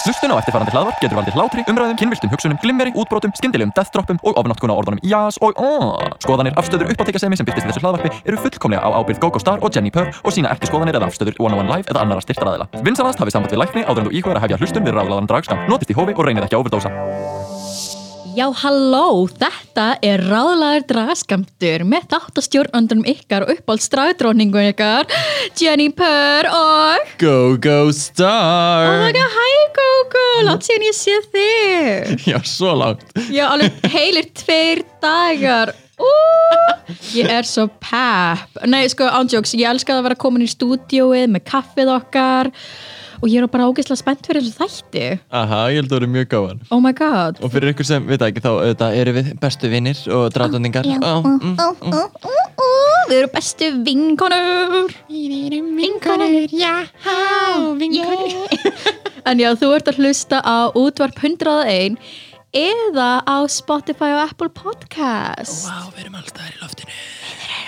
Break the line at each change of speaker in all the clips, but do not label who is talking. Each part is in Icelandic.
Hlustun á eftirfarandi hlaðvarp getur valdið hlátri, umræðum, kynviltum hugsunum, glimmeri, útbrotum, skyndilegum deathdroppum og ofnotkun á orðunum jás og aaaah. Skoðanir, afstöður, uppáttekasemi sem byrtist í þessu hlaðvarpi eru fullkomlega á ábyrgð GoGo Star og Jenni Purr og sína ekki skoðanir eða afstöður One on One Live eða annara styrtaraðila. Vinsanast hafið samband við lækni áður en þú íhugar að hefja hlustun við ráðlaðan dragskam. Notist í hófi og reynið ekki að overdósa.
Já, halló, þetta er ráðlaður dragaskamtur með þáttastjórnandunum ykkar og uppáhaldsdragdróningun ykkar, Jenny Purr og...
Go, go,
Oh my
star!
god, hæ Gógó, látt síðan ég sé þig.
Já, svo langt.
Já, alveg heilir tveir dagar. Ú, ég er svo pepp. Nei, sko, ándjóks, ég elska að vera komin í stúdíóið með kaffið okkar og ég er bara ógeðslega spennt fyrir þessu þætti.
Aha, ég held að það eru mjög gáðan.
Oh my god.
Og fyrir ykkur sem, veit það ekki, þá auðvitað eru við bestu vinnir og drátundingar. Oh, mm.
Ó, ó, ó, ó, Við erum bestu vinkonur
Við erum vinkonur, já, vinkonur.
En já, þú ert að hlusta á útvarp 101 eða á Spotify og Apple Podcast
Vá, við erum alls staðar í loftinu.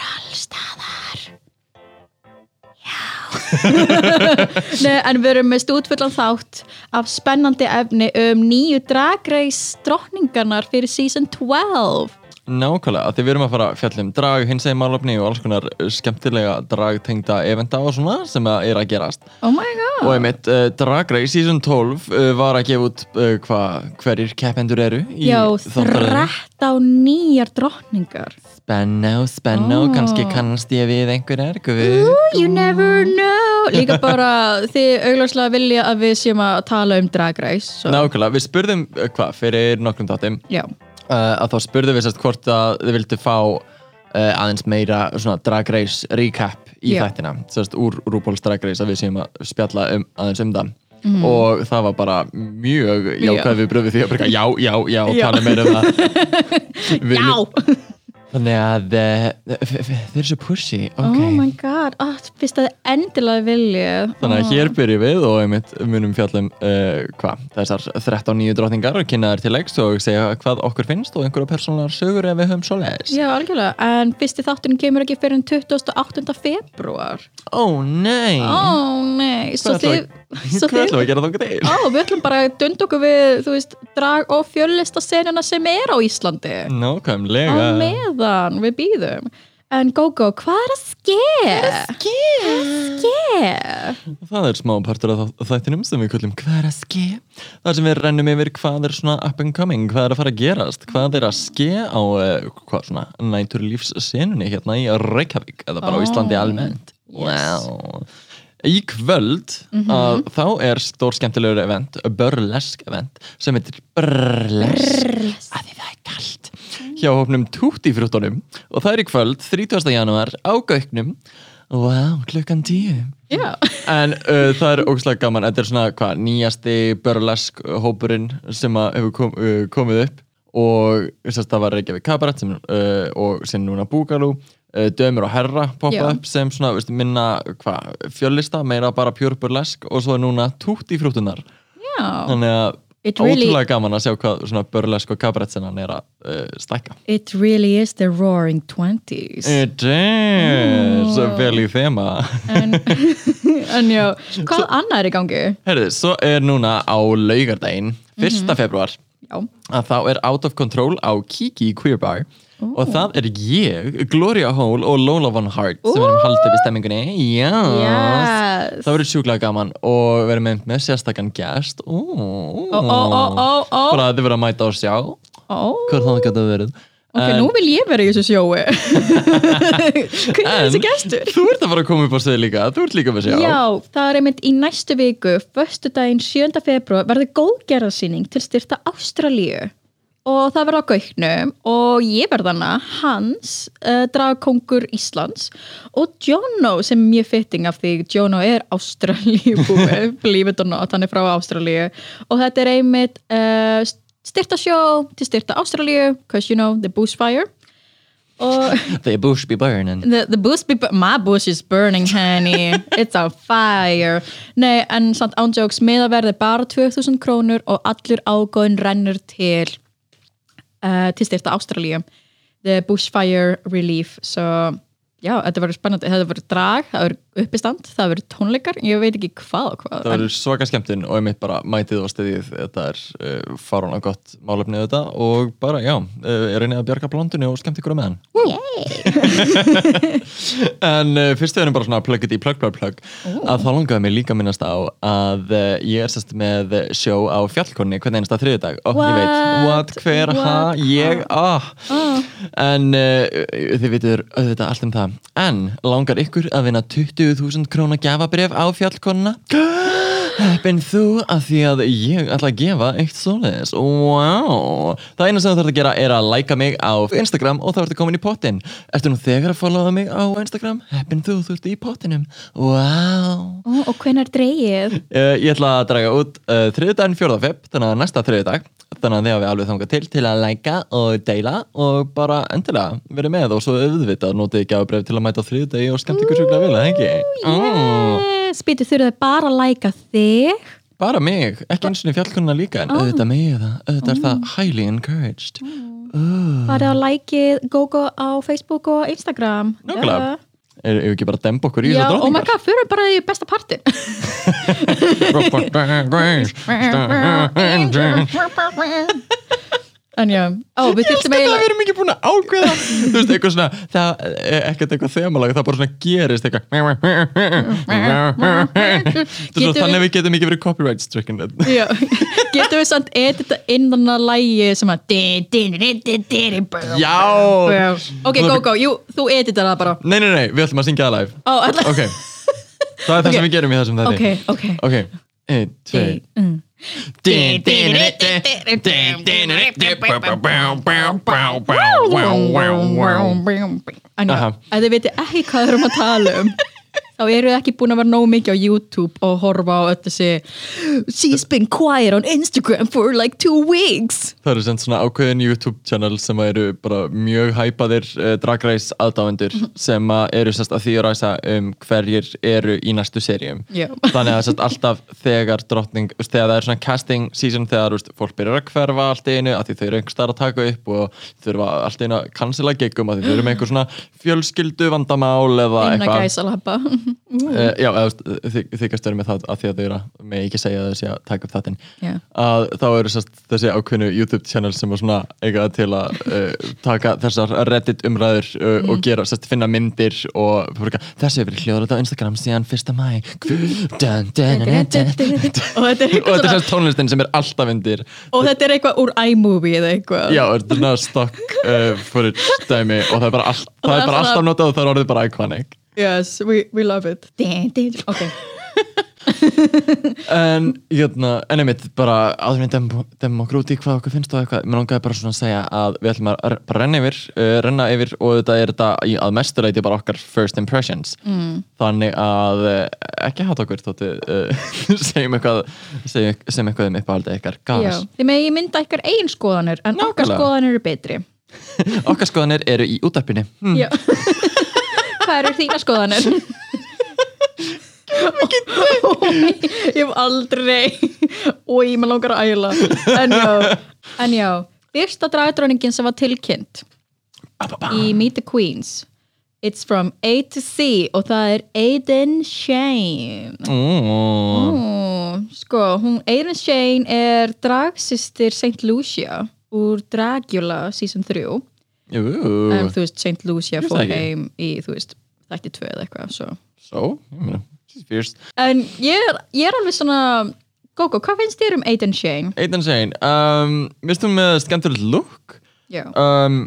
Allstaðar Já Nei, En við erum með stúdfullan þátt af spennandi efni um nýju dragreis drottningarnar fyrir season 12
Nákvæmlega, því við erum að fara að fjalla um drag, hinsegi málöfni og alls konar uh, skemmtilega dragtengda eventa og svona sem að er að gerast.
Oh my god
Og einmitt, uh, Drag Race Season 12 uh, var að gefa út uh, hva, hverjir keppendur eru í
Já,
þáttaröðinni.
13 nýjar drottningar
Spennó, spennó,
Ó.
kannski kannast ég við einhverjar, guð.
You never know Líka bara þið augljóslega vilja að við séum að tala um Drag Race so.
Nákvæmlega, við spurðum uh, hvað fyrir nokkrum þáttum
Já,
uh, að þá spurðum við sérst hvort að þið vildu fá uh, aðeins meira svona drag race recap í
Já.
þættina sérst úr RuPaul's drag race að við séum að spjalla um, aðeins um það
Mhm.
og það var bara mjög jákvæð við bröfið því að bara já, já, já,
Já.
tala meira um það Við
já
viljum- Þannig að uh, f- f- þeir eru svo pushy, ok
Oh my god, oh, fyrst að þið endilega vilja Ah.
Þannig að hér byrjum við og einmitt munum fjallum uh, hvað, þessar 13 nýju drottningar og kynna þær til leiks og segja hvað okkur finnst og einhverja persónulegar sögur ef við höfum svo leiðis.
Já, algjörlega, en fyrsti þátturinn kemur ekki fyrir en 28. februar
Ó nei!
Ó, Oh, nei, svo
Mm. Hvað
þið svo
ætlum Hvað ætlum við
þið-
að gera þangað til?
Ó, við ætlum bara að dunda okkur við, þú veist, drag- og fjöllistasenuna sem er á Íslandi Á
Nákvæmlega.
meðan, við býðum En Gógó, hvað er að ske? Hvað er að ske? Hvað er að ske?
Það er smá partur af þá- þættinum sem við kvöldum hvað er að ske? Það sem við rennum yfir hvað er svona up and coming, hvað er að fara að gerast, hvað er að ske á uh, hvað svona næturlífssenunni hérna í Reykjavík eða bara
Ó,
á Íslandi almennt.
Ah, yes. Mhm.
Wow. Í kvöld að, þá er stór skemmtilegur event, burlesk event sem heitir burlesk. að því það er kalt hjá hópnum Tutti-frúttunum og það er í kvöld 30. janúar á Gauknum wow, klukkan 10
Já,
en uh, það er ógslag gaman þetta er svona hva, nýjasti burlesk hópurinn sem að hefur kom, uh, komið upp og sérst, það var Reykjavík Kabarett sem, uh, og sem núna Búgalú uh, Dömur og Herra
Já.
poppa upp sem svona veist, minna hva, fjöllista, meira bara pure burlesk og svo er núna Tutti-frúttunar
já
þannig að
It really-
ótrúlega gaman að sjá hvað svona börlesk og kabaretsinnan er að uh, stækka
It really is the roaring twenties
It is
Oh.
vel í þema
en, en já, hvað annað er í gangi?
Herðu, svo er núna á laugardaginn 1.
Mhm.
februar
Já,
að þá er Out of Control á Kiki Queer Bar og það er ég, Gloria Hole og Lola Von Hart sem erum haldið við stemmingunni yes.
Yes.
Ah, það verður sjúklega gaman og verðum með, með sérstakann gest ó,
ó, ó, ó, ó
bara að þið verða að mæta og sjá
Ó,
hvað það geta verið
ok,
En-
nú vil ég vera í þessu sjói Hvernig er
En-
þessi gestur?
Þú ert að fara að koma upp á svið líka, þú ert líka með sjá
Já, það er einmitt í næstu viku, föstudaginn 7. februar, verður góðgerðarsýning til styrta Ástralíu og það verður á Gauknum og ég verð hana, Hans, uh, dragkongur Íslands og Jono sem er mjög fitting af því Jono er Ástralíu búið, believe it or not, hann er frá Ástralíu og þetta er einmitt uh, styrta sjó til styrta Ástralíu, cause you know, the bush fire og
The bush be burning
The, the bush be, my bush is burning honey, it's on fire Nei, en samt ándjóks miðaverði bara 2000 krónur og allur ágóðin rennur til uh, til styrta Ástralíu The Bushfire Relief so, já, þetta verður spennandi, þetta verður drag það verður uppistand, það verður tónleikar ég veit ekki hvað og hvað
það
en-
verður svaka skemmtinn og ég mitt bara mætið og stiðið, þetta er uh, farun að gott málefnið þetta og bara, já, uh, ég reynið að bjarga blondinu og skemmt ykkur á meðan en uh, fyrst við erum bara svona plug it í plug, plug, plug að þá langaði mér líka að minnast á að uh, ég er sérst með sjó á fjallkonni hvern einasta þriðudag og ég veit,
What?
what, hver, ha,
What?
ég, ah en uh, þið veitur auðvitað allt um það en langar ykkur að vinna 20.000 króna gafabref á fjallkonna heppin þú að því að ég ætla að gefa eitt svoleiðis wow. það eina sem þú þarf að gera er að læka mig á Instagram og þá ertu komin í pottin ertu nú þegar að followa mig á Instagram heppin þú, þú ert í pottinum wow.
Ó, og hvenær dreigið
Uh, ég ætla að draga út uh, þriðdaginn fjórða feb, þannig að næsta þriðdag þannig að þið hafið alveg þangað til til að læka og deila og bara endilega verið með og svo auðvitað notið ekki ábreyf til að mæta á þriðdagi og skemmt ykkur sjúklega vel, eða ekki? Mm,
spýtu þurfið þið bara að læka þig
bara mig, ekki eins og fjallkunna líka en auðvitað mig eða, auðvitað er það highly encouraged
farið að lækið GoGo á Facebook og Instagram
Nákvæmlega.
Já.
Er við ekki bara að demba okkur í
Já,
þessar
oh my god, fyrir bara í besta partin
drottningar?
En já, ó, við þurftum
Þetta
eiginlega
erum ekki búin að ákveða Þú veist, eitthvað svona Það er ekkert eitthvað þemalag, það bara svona gerist eitthvað Þú veist,
Getum við-
Þannig að við getum ekki verið copyright stricken
Já, getum við samt edita innan að lægi sem að di- di- di- di- di- di- di- bú-
Já
bú. Ok, go, go, jú, þú editar það bara
Nei, nei, nei, við ætlum að syngja það live
Ó, ætla
Ok Það er það
Ok.
sem við gerum í þessum
Ok,
þetta
ok
Ok Einn, tveir
Mm. En já,
Aha.
ef þið viti ekki hvað þið erum að tala um þá eru þið ekki búin að vera nóg mikið á YouTube og horfa á öll þessi She's been quiet on Instagram for like two weeks
Það eru sem svona ákveðin YouTube channel sem að eru bara mjög hæpaðir uh, Drag Race aðdáendur sem að eru sérst að því að ræsa um hverjir eru í næstu serjum
Já.
þannig að sérst alltaf þegar drottning, þú veist, þegar það er svona casting season þegar þú veist, fólk byrjar að hverfa allt í einu að því þau eru einhver starf að taka upp og þurfa allt í einu að cancela gegum að því þau eru með einhver svona fjölskyldu vandamál eða
innan
eitthvað
gæsa lappa Mm.
uh, já, eða, þú veist, þy- þykast verið með það að því að þau eru að með ekki segja þessi að taka upp þattin
Já.
að þá eru sest, þessi ákveðnu YouTube channel sem er svona eiga til að uh, taka þessar reddit umræður uh, og
Mm.
gera, sest, finna myndir og fórka, þessi hefur verið hljóðrætt á Instagram síðan 1. mæ dun, dun, dun, dun, dun.
og þetta er
og
eitthvað
þetta er
svona
sérst tónlistin sem er alltaf undir
og þetta er eitthvað úr iMovie eða eitthvað
já, þetta er svona stock uh, footage dæmi og það er bara, all, það er bara alltaf notað og það er orðið bara iconic
yes, we, we love it ok,
En, jötna, en einmitt, bara áður en við demum okkur út í hvað okkur finnst og eitthvað, mér langaði bara svona að segja að við ætlum að r- bara renna yfir, uh, renna yfir og þetta er þetta í, að mestu leiti bara okkar first impressions. Mm. Þannig að uh, ekki hát okkur þóttu uh, segjum eitthvað, segjum, segjum eitthvað um uppáhaldið ykkar
já,
gas.
þið megi mynda ykkar eigin skoðanir en okkar
Nákvæmlega.
skoðanir eru betri
Okkar skoðanir eru í útarpinu. Hm.
Já. Hvað eru þína skoðanir? Ói, Ég hef aldrei Ói, maður langar að æla En já, en já Fyrsta dragdráningin sem var tilkynnt í Meet the Queens It's from A to C og það er Aiden Shane
Mm.
Ó, Sko, hún Aiden Shane er dragsystir St. Lucia úr Dragula season 3
Jú,
en þú veist, St. Lucia
Ég veist
fór
það ekki.
heim í, þú veist, þætti tvö eða eitthvað svo.
svo, ég meina, she's fierce.
en ég er, ég er alveg svona Gogo, hvað finnst þér um Aiden Shane?
Eitan Shane, um, minnst þú með skemmtilegt look?
Já,
um,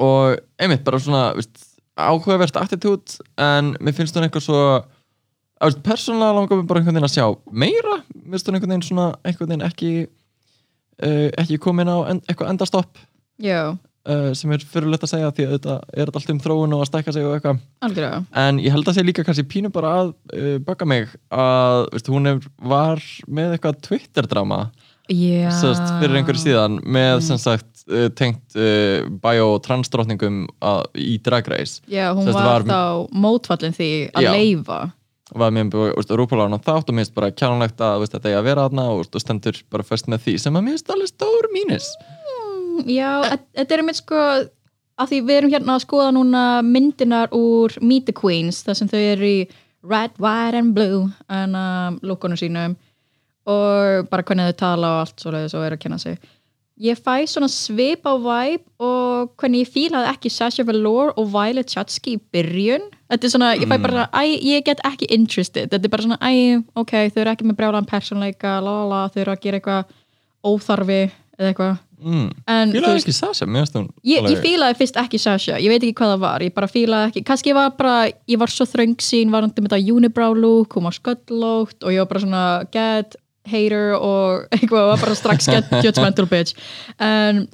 og einmitt bara svona veist, áhugavert attitút en mér finnst hún eitthvað svo að veist, persónulega langar mér bara einhvern veginn að sjá meira, mér finnst hún einhvern veginn svona einhvern veginn ekki uh, ekki komin á en, eitthvað endastopp
já,
uh, sem er fyrirlegt að segja því að þetta er þetta allt um þróun og að stækka sig og eitthvað
algjörlega
en ég held að sé líka kannski pínu bara að uh, baka mig að veist, hún er, var með eitthvað Twitter-drama
Já,
sest, fyrir einhverju síðan með sem sagt uh, tengt uh, bio og transdrottningum að- í Drag Race
Já, hún
Sest,
var,
var-
þá mótfallin því að
Já.
leifa
var mér veist, rúpálarinn á þátt og mér finnst bara kjánlegt að veist, þetta eiga að vera þarna og, veist, og stendur bara fyrst með því sem að mér finnst alveg stór mínus
Mm, Já, þe- þetta er einmitt sko að því við erum hérna að skoða núna myndinar úr Meet the Queens þar sem þau eru í red, white and blue en um, lúkunum sínum og bara hvernig þau tala og allt svoleiðis og eru að kenna sig ég fæ svona svip á vibe og hvernig ég fílaði ekki Sasha Velour og Violet Chachki í byrjun þetta er svona, ég fæ bara, æ, ég get ekki interested, þetta er bara svona, æ, ok þau eru ekki með brjálan persónleika, la la la þau eru að gera eitthvað óþarfi eða eitthvað
mm.
En, þú
Fílaði
veist,
ekki Sasha, mér finnst hún
Ég, ég
alveg-
fílaði fyrst ekki Sasha, ég veit ekki hvað það var ég bara fílaði ekki, kannski ég var bara ég var svo þröng sín, var undir með þetta unibrow look hún var sköllótt og ég var bara svona get, hater og eitthvað, var bara strax get judgmental bitch en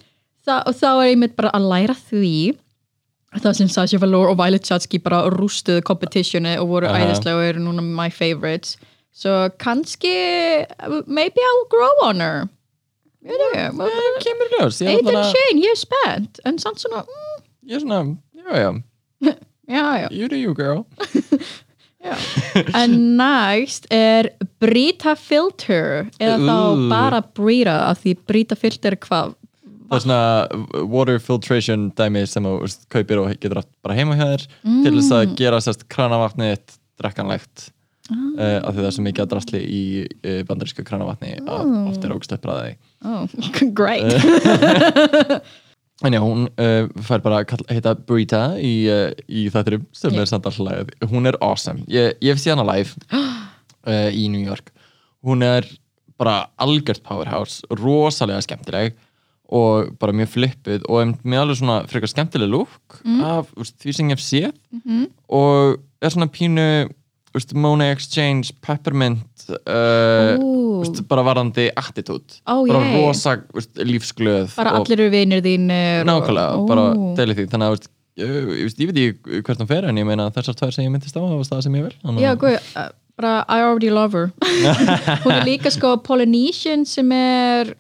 það, og þá er ég mitt bara að læra því það sem Sasha Velour og Violet Chachki bara rústuðu competitioni og voru
Aha.
æðislega og eru núna my favorites so kannski maybe I'll grow on her ég veit ekki, maður-
kemur í ljós, ég er,
Aiden
allavega-
Shane, ég er spennt en samt svona, mm,
ég er svona, já já
já, já,
you do you girl
já. en næst er Brita Filter eða
Ú.
þá bara Brita af því Brita Filter er hvað
það er svona water filtration dæmi sem þú veist, kaupir og getur haft bara heima hjá þér til þess að gera sérst kranavatni þitt drekkanlegt uh, af því það er svo mikið að drastli í uh, bandarísku kranavatni að oft er ógst uppræði
oh, great
Eh, en já, hún uh, fær bara að kalla, heita Brita í, uh, í þættirum sem
Já.
er samt alltaf lagið hún er awesome, ég, ég hef séð hana live
Ah.
uh, í New York hún er bara algjört powerhouse rosalega skemmtileg og bara mjög flippuð og einmitt með alveg svona frekar skemmtileg lúk
Mhm.
af úst, því sem ég hef séð og er svona pínu úst, Mona Exchange, Peppermint uh,
Ú.
úst, bara varandi attitude
Ó,
bara
yay.
rosa úst, lífsglöð
bara
og-
allir eru vinir þínir og-
nákvæmlega,
Ó.
bara deilið því þannig að veist, ég, ég, veist, ég veit ekki hvert hún fer en ég meina þessar tvær sem ég myndist á það var stað sem ég vil þannig að-
já, guð, uh, bara I already love her hún er líka sko Polynesian sem er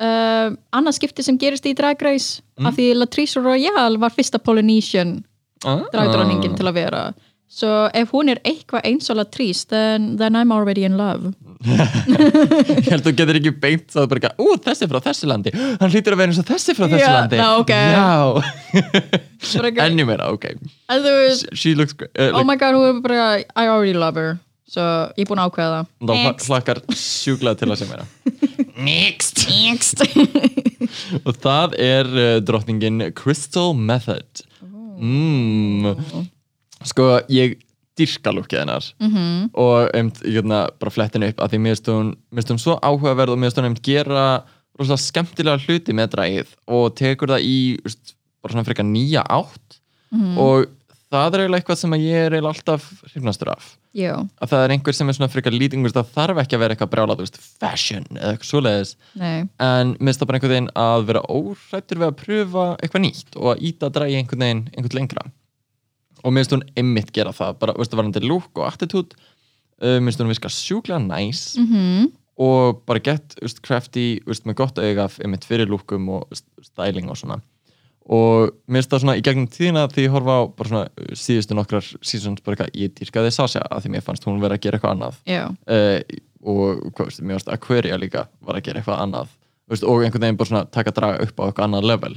uh, annað skipti sem gerist í Drag Race
Mm.
af því Latrice Royale var fyrsta Polynesian
Ah.
dragdronningin til að vera svo ef hún er eitthvað eins og latrís then, then I'm already in love
ég held að þú getur ekki beint það bara eitthvað, ú þessi er frá þessu landi hann hlýtur að vera eins og þessi er frá þessu
Já,
landi
ná, ok.
já
Bara eitthvað-
ennum meira, ok
En þú veist,
she looks great uh,
oh my god, hún er bara I already love her so ég er búin að ákveða
þá
það
hla- hlakkar sjúklað til að sem meira
Next. Next.
og það er uh, drottningin Crystal Method
Oh.
mm. sko ég dyrka lúkið hennar
Mhm,
-hmm. og um, ég hérna bara flettin upp að því mér finnst hún, mér finnst hún svo áhugaverð og mér finnst hún um, gera rosalega skemmtilega hluti með dragið og tekur það í þú veist, bara svona frekar nýja átt og það er eiginlega eitthvað sem að ég er eiginlega alltaf hrifnastur af
já,
að það er einhver sem er svona frekar lýtingur það þarf ekki að vera eitthvað brjálað, þú veist, fashion eða eitthvað svoleiðis
nei,
en minnst það bara einhvern veginn að vera órættur við að pröfa eitthvað nýtt og að íta að dræja einhvern veginn einhvern lengra og minnst hún einmitt gera það bara, veistu, varandi lúk og attitút uh, minnst hún virka sjúklega næs
mm
og bara gett veist, crafty, veist, með gott auga einmitt fyrir lúkum og veist, styling og svona og mér finnst það svona í gegnum tíðina því ég horfa á bara svona uh, síðustu nokkrar seasons bara eitthvað, ég dýrkaði Sasha að því mér fannst hún vera að gera eitthvað annað
já
uh, og hvað veist, mér varst Aquaria líka var að gera eitthvað annað veist, og einhvern veginn bara svona taka draga upp á eitthvað annað level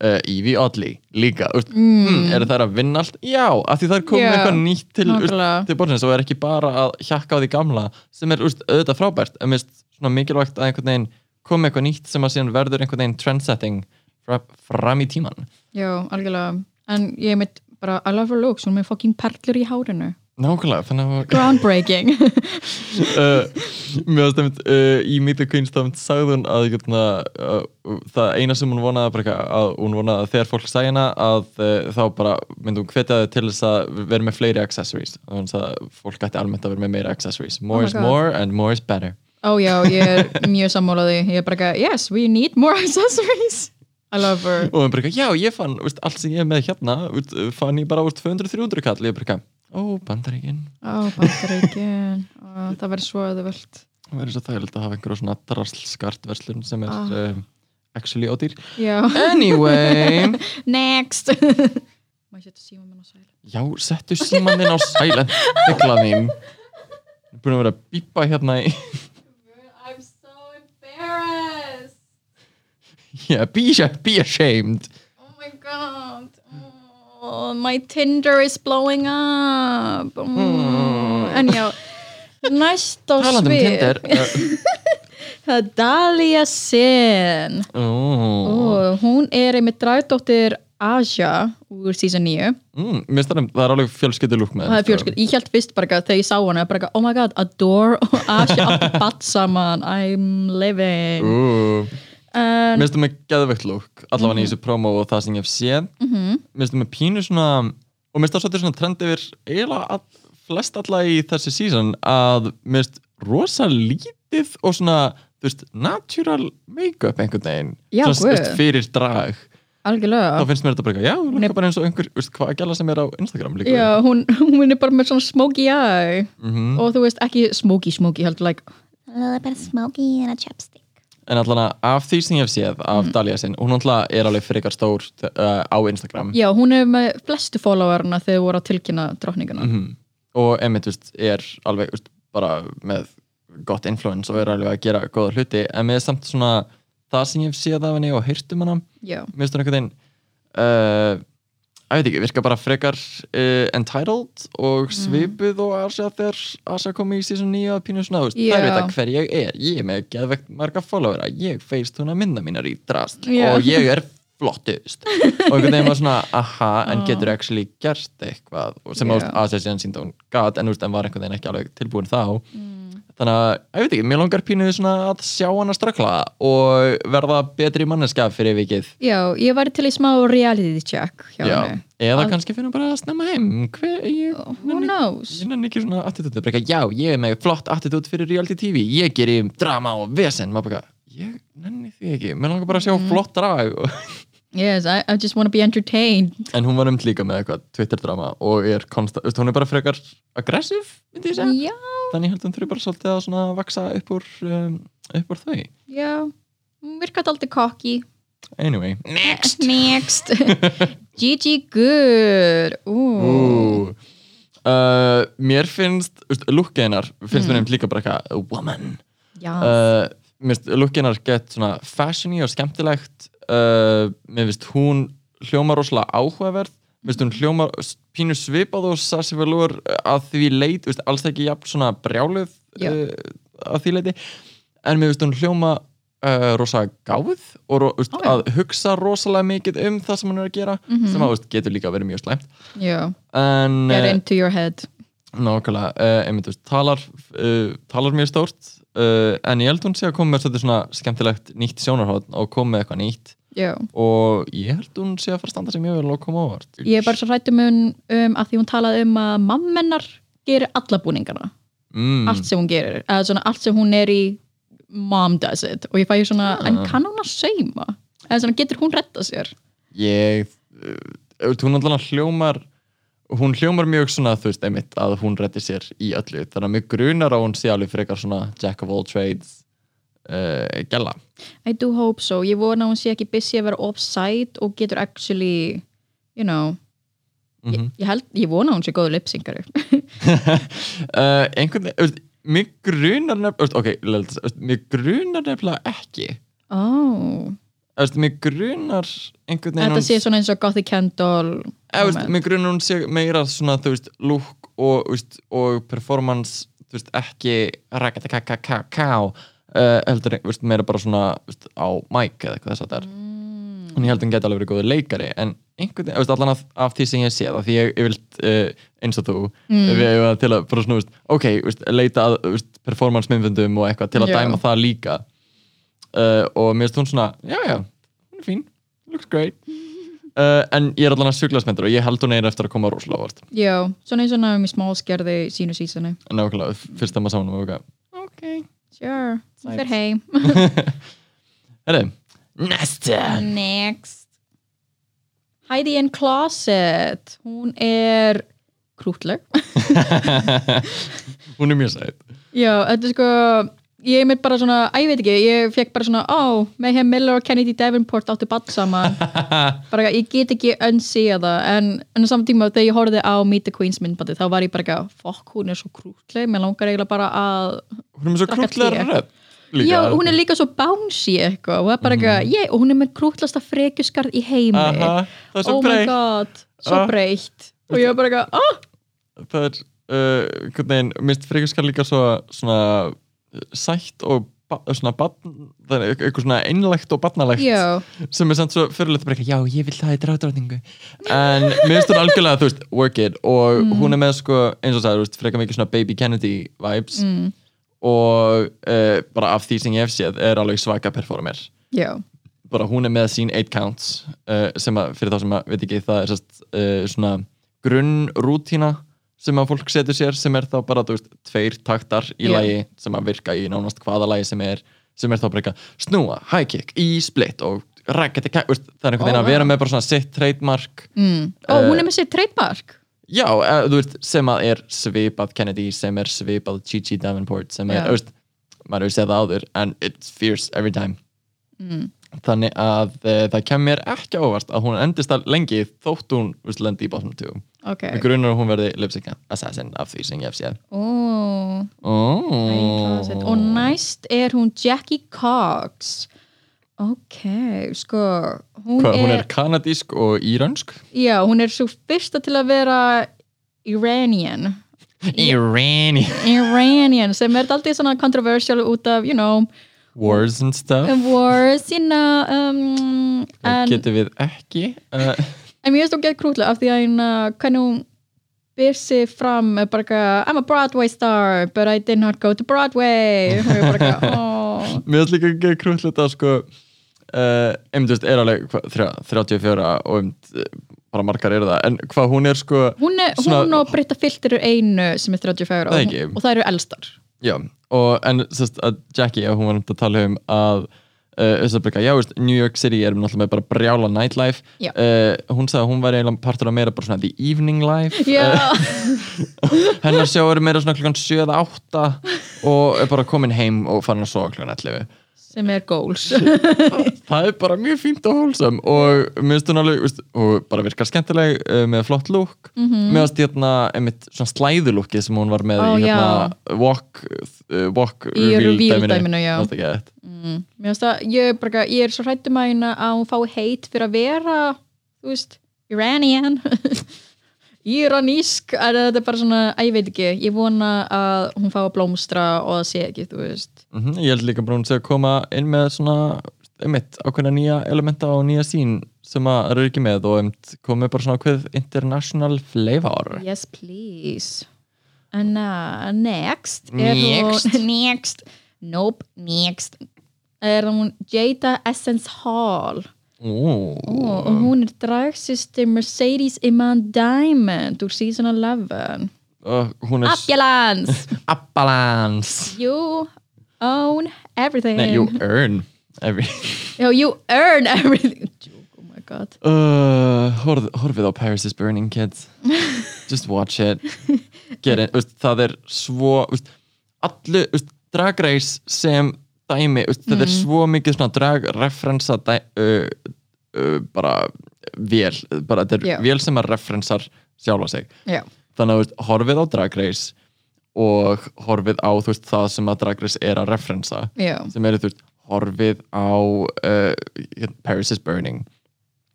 uh, Evie Oddly líka veist, mm. eru þær að vinna allt? Já, af því þær komið
Já,
eitthvað nýtt til, veist,
nákvæmlega.
til borðins og er ekki bara að hjakka á því gamla sem er veist, auðvitað frábært en mér finnst svona mikilvægt að einhvern veginn komið eitthvað nýtt sem að síðan verður einhvern veginn trendsetting fra, fram í tíman
já, algjörlega, en ég mitt bara I love her looks, hún er með fucking perlur í hárinu
Nákvæmlega, þannig að
groundbreaking
uh, mér varst einmitt uh, í Meet the Queens þá einmitt sagði hún að hérna, uh, það eina sem hún vonaði bara eitthvað að hún vonaði að þegar fólk sagði hana að uh, þá bara myndi hún hvetja þau til þess að vera með fleiri accessories og hún sagði að fólk ætti almennt að vera með meira accessories more
Oh my
is
God.
more and more is better
ó já, ég er mjög sammálaði ég er bara ekki, yes, we need more accessories I love her
og hún bara eitthvað, já ég fann veist, allt sem ég er með hérna veist, fann ég bara 200-300 kall ég bara eitthvað, ó bandaríkin
ó, bandaríkin, Ó, það verður svo öðvöld
það er svo þægilegt að hafa einhverja svona draslskartverslun sem er
Ah.
um, actually ódýr
já,
Eh, anyway
next má ég setja síma minn á sæl
Já, settu síman þinn á silent Hegla þín Búin að vera að bípa hérna í
I'm so embarrassed.
yeah, be, sh- be ashamed
Oh my god. oh, my Tinder is blowing up mm. en já næst á
Hmm. Talandi um
svið
Tinder uh,
það er Dalia Sin
ó,
og hún er einmitt dragdóttir Aja úr season 9
mm, mér finnst það- það er alveg fjölskyldulúk með
það er fjölskyld, ég held fyrst bara eitthvað þegar ég sá hana bara eitthvað, oh my god, Adore og Aja áttu batt saman, I'm living
Mm. fjölskyld
en, Mhm.
Mér finnst það með geðveikt lúk allavega í þessu promo og það sem ég hef séð Mér finnst það með pínu svona og mér finnst það svolítið svona trend yfir eiginlega all, flest alla í þessu season að mér finnst rosa lítið og svona, þú veist, natural make-up einhvern veginn
Já,
svona, þú veist,
guð.
fyrir drag
algjörlega
þá finnst mér þetta bara eitthvað, já, hún
Nei.
er bara eins og einhver, veist, hvað gæla sem er á Instagram líka
Já, hún, hún er bara með svona smoky eye
Mhm. Mm.
og þú veist ekki smoky smoky heldur like
A little bit of smoky and a chapstick.
en allan af því sem ég hef séð af
Mhm.
Dalia sinn, hún alltaf er alveg frekar stór uh, á Instagram
Já, hún er með flestu followerna þegar voru að tilkynna drottninguna
Mm. Mhm. og Emmett veist, er alveg veist, bara með gott influence og er alveg að gera góða hluti en með samt svona það sem ég hef séð af henni og heyrt um hana
Já,
mér finnst hún einhvern veginn uh, að veit ekki, virka bara frekar uh, entitled og
Mhm.
svipuð og Asja þegar Asja kom í season 9 að pínu svona, þú veist, það
Já.
veit að hver ég er ég er með geðvegt marga followera ég feist hún að mynda mínar í drast
Já.
og ég er flottust og einhvern veginn var svona, aha, en getur actually gert eitthvað og sem
Já.
yeah. Asja síðan sínd hún gat, en, þú veist, en var einhvern veginn ekki alveg tilbúin þá
Mm.
þannig að, ég veit ekki, mér langar pínuð svona að sjá hana strakla og verða betri manneska fyrir vikið
Já ég væri til í smá reality check hjá
Já,
henni
eða
Al-
kannski finnum bara að snemma heim hver, ég,
Who knows?
ég nenni ekki svona attitúti bara eitthvað, já, ég er með flott attitút fyrir reality TV, ég ger í drama og vesen, maður bara, ég nenni því ekki mér langar bara að sjá
Mm.
flott drag og-
Yes, I, I just wanna be entertained
en hún var um líka með eitthvað Twitter drama og er konsta, veist, hún er bara frekar aggressiv, myndi ég segja
Já,
þannig ég held hún þurfi bara svolítið að svona vaksa upp úr, um, upp úr þau
já Hún virkaði aldrei cocky
anyway,
Next. Next.
Gigi Good Ú.
Ú. Uh, mér finnst, veist, lúkka hennar finnst
Mm.
mér nefnt líka bara eitthvað, woman
Já,
uh, mér finnst lukkinar gett svona fashiony og skemmtilegt uh, mér finnst hún hljóma rosalega áhugaverð mér finnst hún hljóma s- pínu svipað og Sassi Velour uh, að því leit veist, alls ekki jafn svona brjáluð
Já.
uh, að því leiti en mér finnst hún hljóma uh, rosa gáð og ro, veist,
Ó, já. Mhm.
að hugsa rosalega mikið um það sem hún er að gera sem að veist, getur líka að vera mjög slæmt
já
en
Get
eh,
into your head
Nákvæmlega, uh, einmitt, þú veist, talar, uh, talar mjög stórt uh, en ég held hún sé að koma með svolítið svona skemmtilegt nýtt sjónarhóðn og koma með eitthvað nýtt
Já
og ég held hún sé að fara að standa sig mjög vel og koma ávart
Ég er bara svo hrættum um, um að því hún talaði um að mammennar gerir alla búningana,
mm,
allt sem hún gerir eða svona allt sem hún er í mom does it og ég fæ svona, en kann hún að seima? eða svona getur hún retta sér
Ég, uh, þú veist, hún alltaf hljómar hún hljómar mjög svona, þú veist, einmitt að hún reddi sér í öllu þannig að mjög grunar að hún sé alveg frekar svona jack of all trades uh, gæla
I do hope so, ég vona að hún sé ekki busy að vera offside og getur actually you know
mm -hmm.
ég, held, ég vona að hún sé góður lipsingari
uh, einhvern veginn mér grunar nefnilega ok, lelda, mér grunar nefnilega ekki
oh.
Þú veist, mér grunar einhvern veginn
þetta
hún-
sé svona eins og Gothic Candle
Eh, þú veist,
moment.
mér grunar hún sé meira svona þú veist, lúk og, þú veist, og performance þú veist, ekki rakatakaká uh, heldur þú veist, meira bara svona þú veist, á mic eða eitthvað þess að það er en ég held að hún geti alveg verið góður leikari en einhvern veginn, þú veist, allan af, af því sem ég sé það því ég, ég vilt uh, eins og þú
Mm.
við hefum til að bara svona, þú veist, ok þú veist, leita að þú veist, performance myndvendum og eitthvað til að
Já.
dæma það líka uh, og mér finnst hún svona, já já hún er fín, looks great uh, en ég er allan að suglast með þetta og ég held hún eir eftir að koma rosalega vart
já, svona eins og námi smálskerði sínu sísoni
en nákvæmlega, fyrst að maður sá hún og eitthvað, ok
sure, hún fer heim
herri, næsta
Next.
Heidi in Closet hún er krútleg
hún er mjög sætt
já, þetta er sko ég er mér bara svona, að ég veit ekki, ég fekk bara svona ó, Mayhem Miller og Kennedy Davenport áttu badd saman bara, ég get ekki önsýja það en, en á saman tíma þegar ég horfði á Meet the Queens myndbandi þá var ég bara ekki að fokk, hún er svo krútleg mér langar eiginlega bara að
hún er með svo
Drakk
krútlega
te.
rödd líka Mhm.
Já, hún er líka svo bouncy eitthvað og, það er bara eitthvað, yeah, og hún er með krútlasta frekjuskarð í heimi
Aha, það er svo
Oh my
breytt
god, svo
Ah.
breytt og ég var bara eitthvað, ah,
það er uh, hvernig veginn, minnst frekjuskar líka svo svona uh, sætt og ba eh, svona barn, það er eitthvað svona einlægt og barnalegt
já
sem er samt svo fyrirlega bara eitthvað, já, ég vil það í drátrátingu en minnst hún algjörlega, þú veist, work it og
Mm.
hún er með sko, eins og sagði, þú veist, frekar mikið svona baby Kennedy vibes
mm,
og uh, bara af því sem ég hef séð er alveg svaka performer
Já,
bara hún er með sín 8 counts uh, sem að, fyrir þá sem að, veit ekki, það er sest, uh, svona grunnrútína sem að fólk setur sér sem er þá bara, þú veist, tveir taktar í
Já.
lagi sem að virka í nánast hvaða lagi sem er, sem er þá bara eitthvað snúa, high kick, í split og rakketi, það er einhvern
Ó,
veginn að vera
vá.
með bara svona sitt trademark
mm. og
Eh,
hún er með sér trademark
já, uh, þú veist, sem að er svipað Kennedy, sem er svipað Gigi Davenport, sem er,
Já.
þú veist maður hefur séð það áður, en it's fierce every time
mm.
þannig að uh, það kemur mér ekki á óvart að hún endist það lengi þótt hún veist, lendi í bottom 2 okay.
Ok,
grunar að hún verði lipsync assassin af því sem ég hef séð
ó
oh.
Closet. Og næst er hún Jackie Cox Ok, sko hún,
Hva, hún
er,
er kanadísk og írönsk
Já, hún er svo fyrsta til að vera Iranian
Irani
Um, Iranian sem er alltaf svona controversial út af, you know
Wars and stuff
wars, you know um,
en,
en,
getum við ekki uh,
en mér finnst þú gett krútlega af því að hún, uh, hvernig hún byr sig fram er bara eitthvað, I'm a Broadway star but I did not go to Broadway og ég bara eitthvað, oh
mér er líka ekki krúllið að sko uh, um, þú veist, er alveg hva, þrjá, 34 og um, eh, bara margar eru það en hvað hún er sko
Hún, er,
Svona-
hún og Britta Filter eru einu sem er 34
Það
og,
ekki.
hún- og það eru elstar
Já, og en sest, að Jackie, að hún var um að tala um að uh, Östabryka, já, veist, New York City er náttúrulega með bara brjála nightlife
Já.
uh, hún sagði að hún var eiginlega partur af meira bara svona the evening life
Já,
uh, hennar sjá eru meira svona klukkan 7 eða 8 og er bara komin heim og farin að sofa klukkan 11
sem er goals
það er bara mjög fínt og hólsam og mér finnst hún alveg, veist, og bara virkar skemmtileg uh, með flott lúk mm -hmm. mér finnst hérna einmitt svona slæðulúkið sem hún var með
Mhm. Ó,
í
já.
hérna walk, uh, walk
Í reveal
dæminu.
dæminu, já.
Fannst ekki þetta?
mm. Mér finnst að ég, er bara, eitthvað- ég er svo hrættum að hérna að hún fái heit fyrir að vera þú veist, Iranian Iranísk en þetta er bara svona, að ég veit ekki ég vona að hún fái að blómstra og það sé ekki, þú veist
Mm Ég held líka bara hún sé að koma inn með svona, einmitt, ákveðna nýja elementa og nýja sín sem að eru ekki með og einmitt komið bara svona ákveð international flavor.
Yes, please And uh, next er
Next.
hún,
Next.
Nope
Next.
er hún Jada Essence Hall
Ó,
Ó, og hún er dragsýsti Mercedes Iman Diamond úr season 11
uh, hún er
Appjalans
abbalans.
You own everything
Nei, you earn every...
Já, you earn everything Joke, oh my god
Uh, horf, horfið á Paris is Burning, kids. Just watch it. Get it. Úst, það er svo... Úst, allu, úst, Drag Race sem dæmi, úst, það
Mhm.
er svo mikið svona dragreferensa dæ, uh, uh, bara vél, bara þetta er
Já.
vél sem að referensar sjálfa sig.
Já,
Þannig að úst, horfið á Drag Race og horfið á þú veist, það sem að Drag Race er að referensa
já,
sem eru þú veist horfið á uh, hérna, Paris is Burning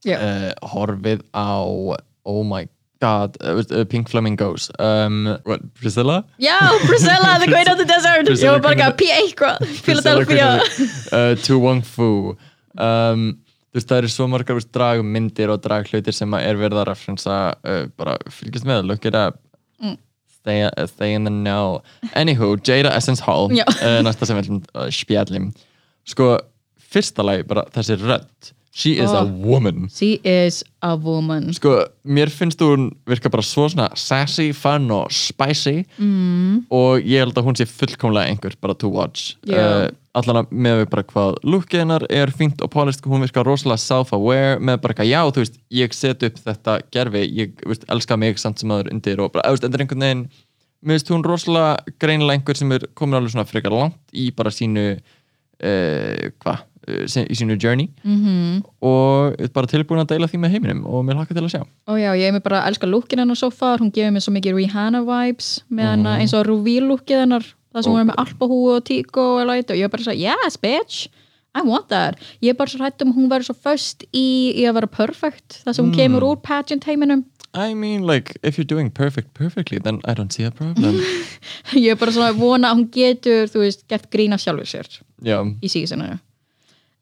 já
uh, horfið á oh my god, uh, veist, uh, Pink Flamingos um, what, Priscilla?
Já, Priscilla, the queen of the desert Ég
Priscilla
var bara
Queen
að P.A.
Priscilla
Philadelphia
Queen of- uh, Tu Wong Fu um, þú veist það eru svo margar veist, dragmyndir og draghlutir sem að er verið að referensa uh, bara fylgjast með, look it up
Mm.
Stay, uh, stay in the know Anywho, Jada Essence Hall
Já.
uh, Næsta sem við ætlum uh, spjallim Sko, fyrsta lagi bara þessi rödd She is a
Oh.
woman
She is a woman
sko, mér finnst hún virka bara svo svona sassy, fun og spicy mm. og ég held að hún sé fullkomlega einhver bara to watch Eh,
Já.
allan að með við bara hvað lookið hennar er fínt og poliskt, hún virka rosalega self-aware með bara eitthvað, já, þú veist, ég set upp þetta gerfi, ég, þú veist, elska mig samt sem aður undir og bara, þú veist, þetta er einhvern veginn mér finnst hún rosalega greinilega einhver sem er komin alveg svona frekar langt í bara sínu uh, hvað, eh, sí- í sínu journey -hmm. og er bara tilbúin að deila því með heiminum og mér hlakka til að sjá
Ó já, ég er mér bara
Mhm.
að elska lúkkin hennar svo far, hún gefur mér svo mikið Rihanna vibes með hennar eins og reveal lúkkið hennar það sem hún er með alpahúu og tíku og læti og ég er bara svo, yes bitch I want that, ég er bara svo hrætt um að hún verður svo föst í, í að vera perfect það sem hún
Mm.
kemur úr pageant heiminum
I mean, like, if you're doing perfect perfectly, then I don't see a problem.
ég er bara svona að vona að hún getur þú veist, gett grína sjálfur sér
Já,
í síðisenninu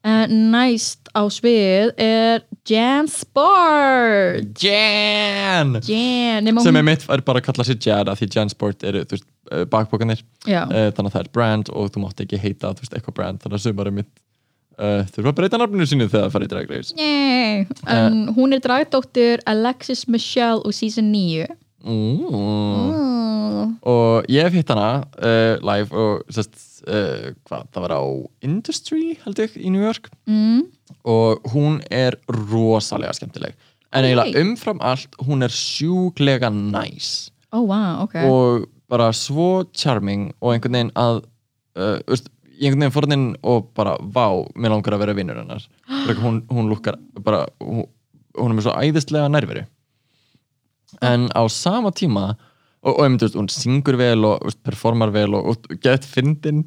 uh, næst á svið er Jan Sport
Jan!
Jan, nema
Sem
hún
er mitt er bara að kalla sér Jan af því Jan Sport eru, þú veist, eh, bakpokanir.
Já.
Eh, Þannig að það er brand og þú mátt ekki heita, þú veist, eitthvað brand. Þannig að sumar er mitt uh, þurfa að breyta nafninu sínu þegar það farið drag race.
Nei, en hún er dragdóttir Alexis Michelle úr season 9
Mm.
Ooh.
Og ég hef hitt hana uh, live og sest, uh, hvað, það var á Industry, held ég, í New York.
mm.
og hún er rosalega skemmtileg en eiginlega umfram allt hún er sjúklega næs
Oh wow, ok
og bara svo charming og einhvern veginn að uh, veist, ég einhvern veginn fór hann inn og bara vá, mér langar að vera vinnur hennar Bara hún, hún lukkar bara, hún, hún er með svo æðislega nærveri en á sama tíma og, og einmitt, veist, hún syngur vel og veist, performar vel og, og gett fyndin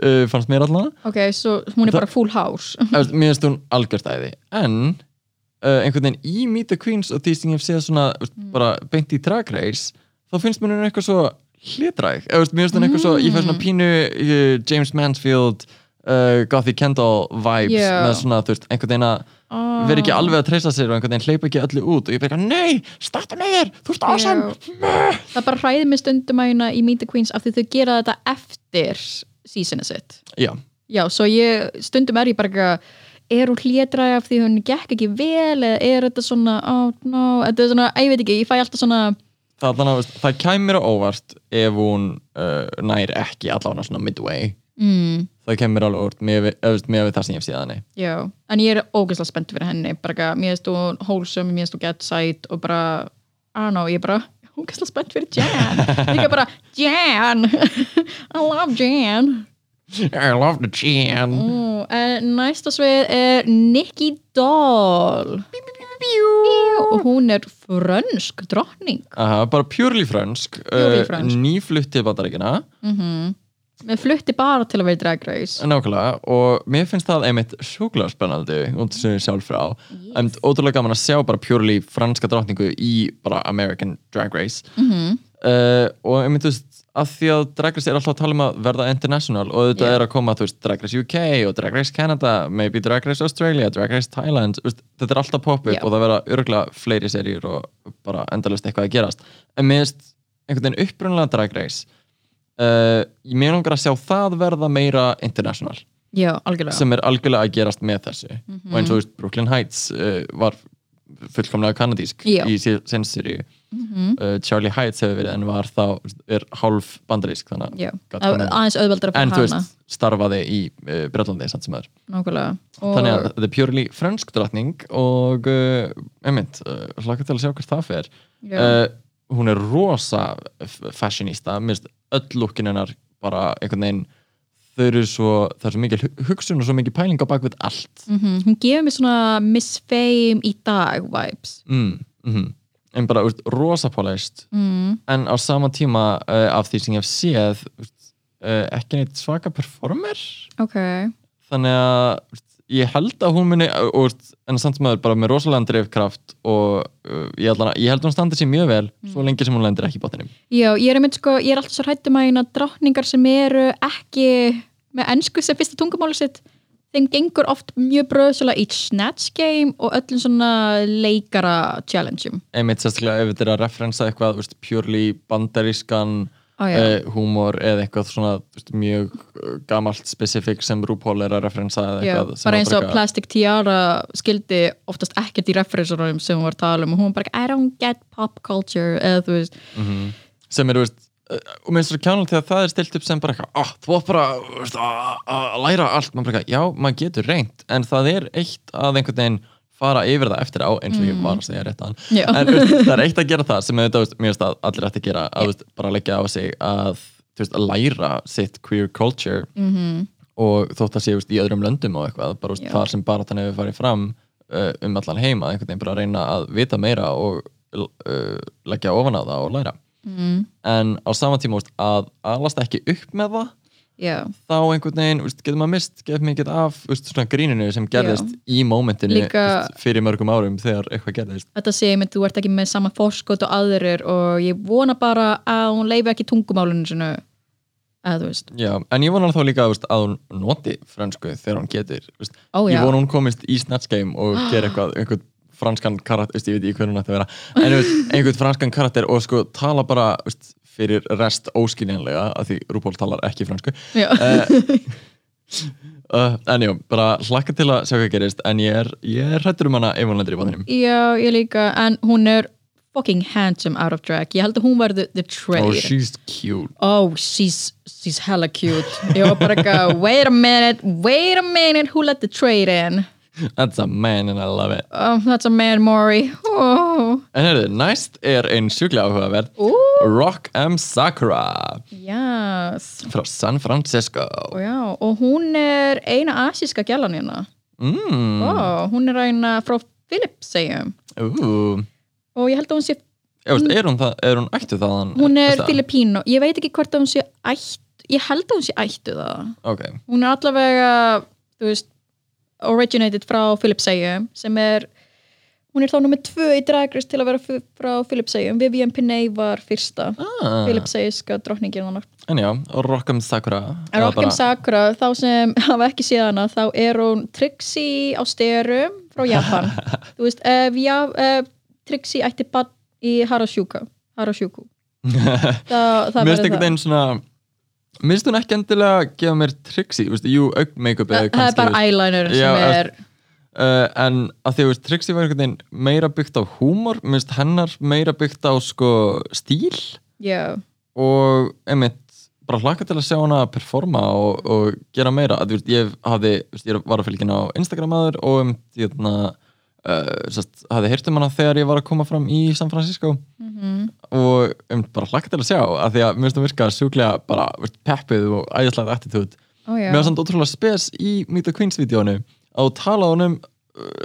uh, fannst mér allan
Ok, svo hún er
Það-
bara full house
Eftir, mér finnst hún algjört æði en uh, einhvern veginn í Meet the Queens og því sem ég hef séð svona veist,
Mm.
bara beint í Drag Race þá finnst mér hún eitthvað svo hlitræk eða veist, mér finnst hún eitthvað svo, ég fæ
Mm.
svona pínu uh, James Mansfield uh, Gothy Kendall vibes
Já.
með svona þú veist, einhvern veginn að
Ah.
vera ekki alveg að treysa sér og einhvern veginn hleypa ekki öllu út og ég bara, nei, starta neyður þú ert ásam
Það bara hræði mig stundum að hérna í Meet the Queens af því þau gera þetta eftir seasonu sitt
já,
Já, svo ég, stundum er ég bara ekki að er hún hlétræði af því hún gekk ekki vel eða er þetta svona, oh no þetta er svona, æ, ég veit ekki, ég fæ alltaf svona
það, þannig, að, veist, það kæmir á óvart ef hún uh, nær ekki allavega svona midway
mm,
það kemur alveg úr með við það sem ég hef séð henni
já, en ég er ógeðslega spennt fyrir henni, bara ekki að mér finnst hún wholesome, mér finnst hún get sight og bara, I don't know, ég er bara ógeðslega spennt fyrir Jan líka bara, Jan I love Jan Mm,
I love the jam
Ó, en Næsta svið er Nikki Doll Bíu, og hún er frönsk drottning
Aha, bara purely frönsk, eh,
Purely frönsk.
nýflutt til bandaríkina
við flutti bara til að vera í Drag Race
nákvæmlega og mér finnst það einmitt sjúklega spennandi út sem ég sjálf frá en ótrúlega gaman að sjá bara purely franska drottningu í bara American Drag Race uh, og einmitt þú veist að því að Drag Race er alltaf að tala um að verða international og þetta
Já.
er að koma þú veist Drag Race UK og Drag Race Canada maybe Drag Race Australia, Drag Race Thailand þú veist, þetta er alltaf pop upp
Já.
og það verða örgulega fleiri serjur og bara endalist eitthvað að gerast en mér finnst einhvern veginn upprunalega Drag Race uh, mér langar að sjá það verða meira international
já, Mhm. algjörlega
sem er algjörlega að gerast með þessu og eins og þú veist, Brooklyn Heights uh, var fullkomlega kanadísk
Já. Mhm.
í sensory uh, Charlie Heights hefur verið en var þá er hálf bandarísk þannig
já,
gat
að-
komið.
aðeins auðveldar að
en
fara
þú
hana
veist, starfaði í uh, Bretlandi samt sem er
nákvæmlega
þannig að
og,
þetta er purely fransk drottning og uh, einmitt, uh, hlaka til að sjá hvert það fer
Já.
uh, hún er rosa f- fashionista, minnst öll lukkin hennar bara einhvern veginn þau eru svo, það er svo mikil hu- hugsun og svo mikil pæling á bakvið allt
mhm, hún gefur mér svona Miss Fame í dag vibes
mm, mhm. en bara úst, rosa polished
mm.
en á sama tíma uh, af því sem ég hef séð úst, uh, ekki neitt svaka performer
ok,
þannig að úst, ég held að hún muni eh, og, úst, en samt sem aður bara með rosalega drifkraft og uh, ég, allan, ég held að hún standi sér mjög vel svo lengi sem hún lendir ekki í botninum
já, ég er einmitt sko ég er alltaf svo hrættum að hérna drottningar sem eru ekki með ennsku sem fyrsta tungumáli sitt þeim gengur oft mjög bröðsula í Snatch Game og öllum svona leikara challengeum
einmitt sérstaklega ef þetta er að referensa eitthvað úst, purely bandarískan
Á, já.
Uh, humor eða eitthvað svona úst, mjög uh, gamalt spesifik sem RuPaul er að referensa eða
Já,
eitthvað sem
bara
að
eins og
taka-
Plastic Tiara skildi oftast ekkert í referensunum sem hún var að tala um og hún var bara, I don't get pop culture eða þú veist,
sem er, veist, uh, og mér finnst það kjánulegt þegar það er stilt upp sem bara eitthvað, ah, þú átt bara veist, að- að læra allt, maður bara eitthvað, já, maður getur reynt, en það er eitt að einhvern veginn fara yfir það eftir á eins og ég var að segja rétt að
Mm. Já.
hann en veist, það er eitt að gera það sem auðvitað, veist, mér finnst að allir ætti að gera að veist, bara leggja á sig að, þú veist, að læra sitt queer culture
mhm,
og þótt að sé veist, í öðrum löndum og eitthvað, bara veist,
Já.
þar sem baratan hefur farið fram uh, um allan heima, einhvern veginn bara að reyna að vita meira og uh, leggja eh, ofan á það og læra
mm,
en á sama tíma úst, að alast ekki upp með það
já,
þá einhvern veginn, úst, getur maður mist getur mikið af úst, svona gríninu sem gerðist í mómentinu
Líka-
úst, fyrir mörgum árum þegar eitthvað gerðist
þetta sé ég með þú ert ekki með sama fórskot og aðrir og ég vona bara að hún leifi ekki tungumálunum sinu að þú veist,
Já, en ég vonar þá líka úst, að hún noti fransku þegar hún getur úst,
ó já
ég vona hún komist í Snatch Game og gera eitthvað, einhvern franskan karakter veist, ég veit ekki hvernig hún ætti að vera en veist, einhvern franskan karakter og sko tala bara veist, fyrir rest óskiljanlega að því Rúból talar ekki fransku
já,
uh, uh, en jú, bara hlakka til að sjá hvað gerist en ég er, ég er hrættur um hana ef hún lendir í bannum
já, ég líka en hún er fucking handsome out of drag ég held að hún verði the trade
oh she's cute
oh, she's, she's hella cute ég var bara eitthvað, wait a minute wait a minute, who let the trade in
that's a man and I love it
oh, that's a man, Maury oh.
en heyrðu, næst er ein sjúklega áhugaverð
Ooh,
Rock M. Sakura
yes
frá San Francisco
og, já, og hún er eina asíska gælan hérna
mm,
oh, hún er eina frá Filippseyjum
ooh.
og ég held að hún sé,
Já, veist, er hún, það, er hún ættu þaðan?
hún er
Veistu það?
Filippínu ég veit ekki hvort að hún sé ætt ég held að hún sé ættu það
Ok,
hún er allavega þú veist, originated frá Philipseyjum sem er hún er þá nummið tvö í dragris til að vera fu- frá Philipseyjum, Vivian Pinney var fyrsta
ah,
Philipseyjska drottningin hann
en já, og Rock'em Sakura
en
eða
okkur
bara-
um Sakura, þá sem hafa ekki séð hana, þá er hún Trixie á styrum frá Japan þú veist, ef já, ef Trixie ætti bann í Harashuka Harashuku það, það
Mér finnst
væri
einhvern veginn svona Mér finnst hún ekki endilega að gefa mér triksi veist, Jú, augn make-up
það,
eða
það er
kannski,
bara eyeliner
Já,
sem er
uh, En að því að veist, triksi var einhvern veginn meira byggt á húmor Mér finnst hennar meira byggt á sko, stíl
já,
Og einmitt bara hlaka til að sjá hana að performa og, og gera meira að, þú veist, ég, hafði, þú veist, ég var að fylgja hana á Instagram aður og um, ég, na, uh, sest, hafði heyrt um hana þegar ég var að koma fram í San Francisco og um, bara hlaka til að sjá að því að mér finnst það virka sjúklega bara veist, peppuð og æðislega attitude
ó já
mér finnst það ótrúlega spes í Meet the Queens vídjónu að tala honum uh,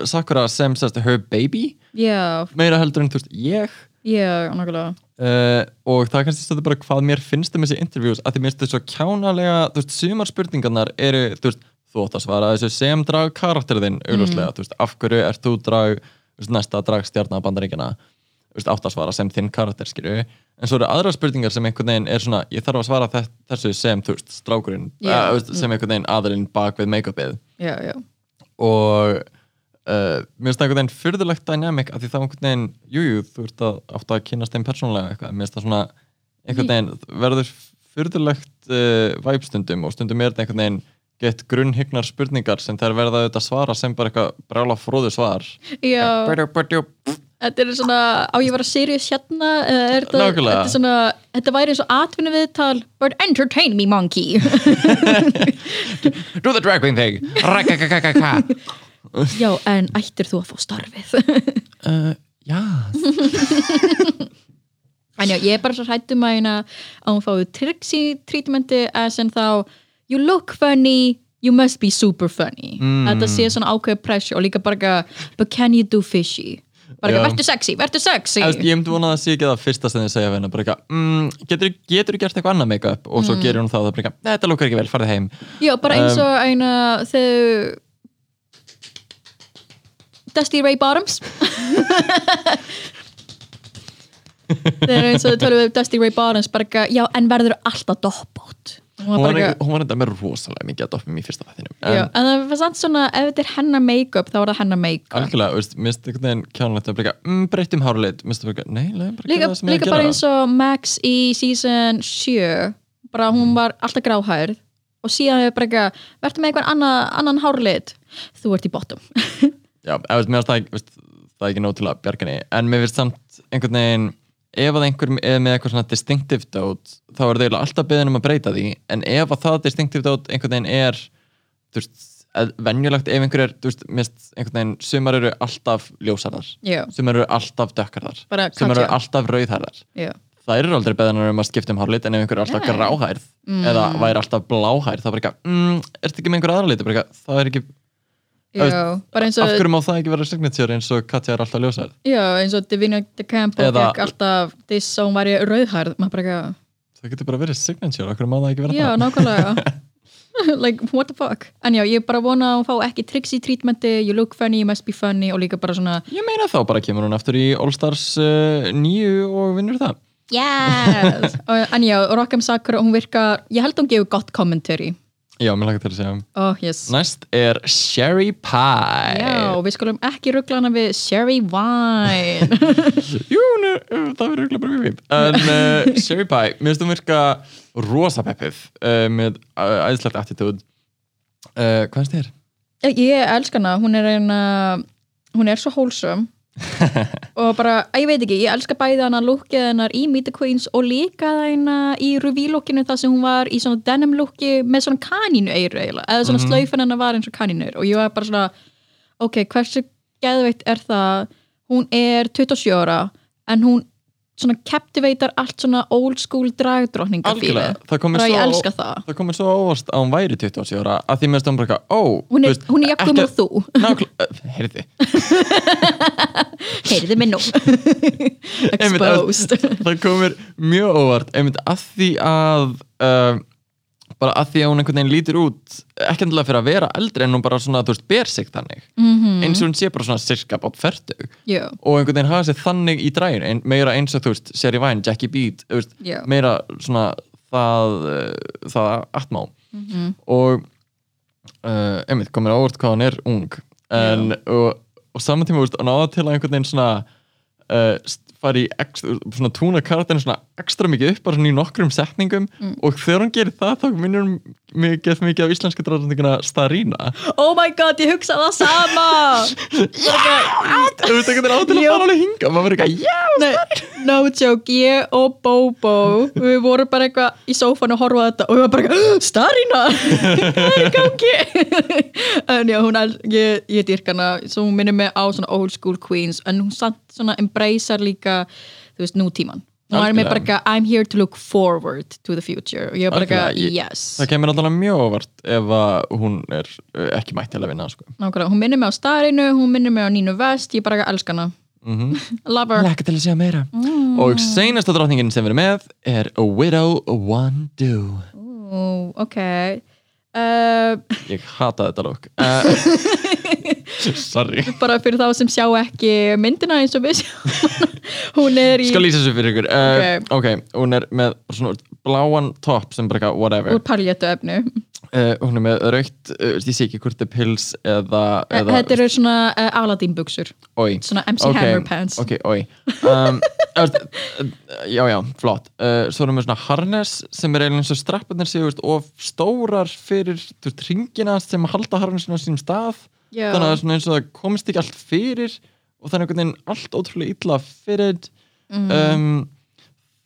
Sakura sem sérst her baby
já,
meira heldur en þú veist ég
já, nákvæmlega
uh, og það er kannski stöður bara hvað mér finnst um þessi interviews að því mér finnst þetta svo kjánalega þú veist, sumar spurningarnar eru þú veist, þú átt að svara þessu sem drag karakterðin augljóslega, þú veist, af hverju ert þú drag þú veist, næsta drag stjarnabandaríkina þú veist, átt að svara sem þinn karakter skilju en svo eru aðrar spurningar sem einhvern veginn er svona, ég þarf að svara þe- þessu sem þú veist, strákurinn,
Já.
yeah. veist, sem einhvern veginn aðurinn bak við make-upið
já, já,
og uh, mér finnst það einhvern veginn fyrðulegt dynamic að því það er einhvern veginn, jújú, jú, þú ert að átt að kynast þeim persónulega eitthvað, mér finnst það svona einhvern veginn verður fyrðulegt uh, væp stundum og stundum er þetta einhvern veginn gett grunnhyggnar spurningar sem þær verða auðvitað að svara sem bara eitthvað brála fróðu svar
já.
Bædjú-bædjú.
Þetta er svona, á ég að vera serious hérna eða er þetta,
Nákvæmlega.
þetta, er svona, þetta væri eins og atvinni viðtal But entertain me monkey
Do the drag queen thing Rakakakakaka
Já, en ættir þú að fá starfið
uh, Já
En já, ég er bara svo hrættum að hérna að hún fái triksi treatmenti as en þá You look funny, you must be super funny
Mm.
Þetta sé svona ákveð pressure og líka bara eitthvað, But can you do fishy? Bara
Já.
eitthvað, vertu sexy, vertu sexy
Æst, Ég myndi vona að það sé ekki það fyrsta sem þið segja við hennar bara eitthvað, mm, getur, getur gert eitthvað annað make-up og svo gerir hún það og það bara eitthvað, "Nei, þetta lukkar ekki vel, farið heim
Já, bara
um,
eins og eina þau Dusty Ray Bottoms Þeir eins og þau tölum við Dusty Ray Bottoms bara ekki, já, en verður alltaf doppót Hún var
hún var,
bara
ekki,
ekki
hún var enda með rosalega mikið að doppum í fyrsta þættinum
Já,
en
en það var samt svona, ef þetta er hennar make-up þá er það hennar make-up
algjörlega, veist, minnst einhvern veginn kjánlegt að breyka, mm, breytum hárleit minnst það bara, nei, leiðum bara
Líka,
gera það sem ég
líka
er að
bara
gera
eins og Max í season 7 bara hún var alltaf gráhærð og síðan hefur bara ekki, verður með einhvern annan, annan hárlit þú ert í bottom
já, eða, veist, mér finnst það, ekki- veist, það er ekki nóg til að bjarga henni, en mér finnst samt einhvern veginn, ef að einhver er með eitthvað svona distinctive dot, þá er það alltaf beðin um að breyta því, en ef að það distinctive dot einhvern veginn er þú veist, eð- venjulegt ef einhver er, þú veist, minnst einhvern veginn, sumar eru alltaf ljósarðar,
Já,
sumar eru alltaf dökkarðar,
bara
sumar eru
Katja.
alltaf rauðharðar
Já.
það eru aldrei beðanar um að skipta um hárlit en ef einhver er alltaf
Nei.
gráhærð "Mm, eða væri alltaf bláhærð þá bara eitthvað, mm, ertu ekki með einhver aðra liti Bara eitthvað, það er ekki,
Já, bara eins
Af
og,
hverju má það ekki vera signature eins og Katja er alltaf ljósæð?
já, eins og Divina de Campo
Eða-
fekk alltaf þess að hún væri rauðhærð, maður bara ekki
Það getur bara verið signature, af hverju má það ekki vera
Já,
það?
nákvæmlega Like, what the fuck En já, ég bara vona að hún fá ekki tricks í treatmenti You look funny, you must be funny Og líka bara svona
Ég meina þá bara kemur hún aftur í All Stars uh, 9 og vinnur það.
Yeah.
Og- En já, Rockham Sakura, hún virkar Ég held hún gefur gott commentary
Já, mér lakar til að segja.
Oh, yes
Næst er Sherry Pie.
Já, við skulum ekki rugla hana við Sherry Wine
Jú, ne, það verður örugglega bara mjög fínt En uh, Sherry Pie, mér finnst hún virka rosa peppið uh, með uh, æðislegt attitude uh, Hvað finnst þér?
Eh, Ég elska hana, hún er eina Hún er svo hólsum og bara, að ég veit ekki, ég elska bæði hana lukkið hennar í Meet the Queens og líka hana í reveal-lukkinu þar sem hún var í svona denim-lukki með svona kanínu eiru eiginlega, eða
Mhm.
svona mm slaufan hennar var eins og kanínu og ég var bara svona ok, hversu geðveitt er það hún er 27 ára en hún svona captivatar allt svona old school dragdrottninga
Algjörlega, það komið
bara ég
svo-
elska það
Það komið svo ávast að hún væri 27 ára að því mér finnst hún bara eitthvað, ó
hún
þú
er,
veist,
hún er jakkum og
ekki-
þú
Nákvæmlega, eh, heyrði
heyrðu mig nú
Einmitt, að-
exposed
Það komir mjög óvart einmitt að því að uh, bara að því að hún einhvern veginn lítur út ekki endilega fyrir að vera eldri en hún bara svona, þú veist, ber sig þannig
Mhm,
eins og hún sé bara svona sirka bát fertug
já,
og einhvern veginn hafa sér þannig í dræðin ein, meira eins og þú veist, Sherry Vine, Jackie Beat þú veist,
Já.
meira svona það, uh, það atmá -hmm. og uh, einmitt, komir á óvart hvað hann er ung en, og, og saman tíma, þú veist, hann áða til að einhvern veginn svona uh, st- fara í ekstra, svona túna karakterin svona ekstra mikið upp, bara svona í nokkrum setningum og þegar hann gerir það, þá minnir hann mig gett mikið af íslenska dráðsendinguna Starina
oh my god, ég hugsa það sama
þú veist, einhvern veginn á til að
Jú.
fara alveg hinga maður verður eitthvað, já,
Nei, no joke, ég og Bobo við vorum bara eitthvað í sófan og horfaði á þetta og við varum bara eitthvað, starina hvað er í gangi en já, hún er, ég, ég dýrk hana svo hún minnir mig á svona old school queens en hún samt svona embracear líka þú veist, nútíman hún var með bara eitthvað, I'm here to look forward to the future og ég var bara
Algjörlega,
eitthvað,
ég-
yes
Það kemur alltaf mjög óvart ef að hún er uh, ekki mætt til að vinna sko.
Nákvæmlega, hún minnir mig á starinu, hún minnir mig á Nínu Vest ég bara eitthvað elska hana
Mhm.
love her
Lekka til að segja meira
Mm.
Og seinasta drátningin sem við erum með er A Widow One Do
Ú, ok uh,
Ég hata þetta lók uh, Sorry
bara fyrir þá sem sjá ekki myndina eins og við sjáum hún er í
Skal lýsa þessu fyrir ykkur uh, okay. Hún er með svona bláan topp sem bara eitthvað whatever
úr paljötu efnu
uh, Hún er með raukt, uh, ég sé ekki hvort er pils eða, eða
Eh, þetta eru svona uh, Aladdin buksur
Oi.
svona MC
Ok,
Hammer pants
ok, oi um, öst, já, já, flott uh, svo erum við svona harness sem er eiginlega eins og strapparnir séu veist, of stórar fyrir þú veist, ringina sem halda harnessinu á sínum stað
Já.
þannig að það er svona eins og það komist ekki allt fyrir og það er einhvern veginn allt ótrúlega illa fyrir
Mm.
um,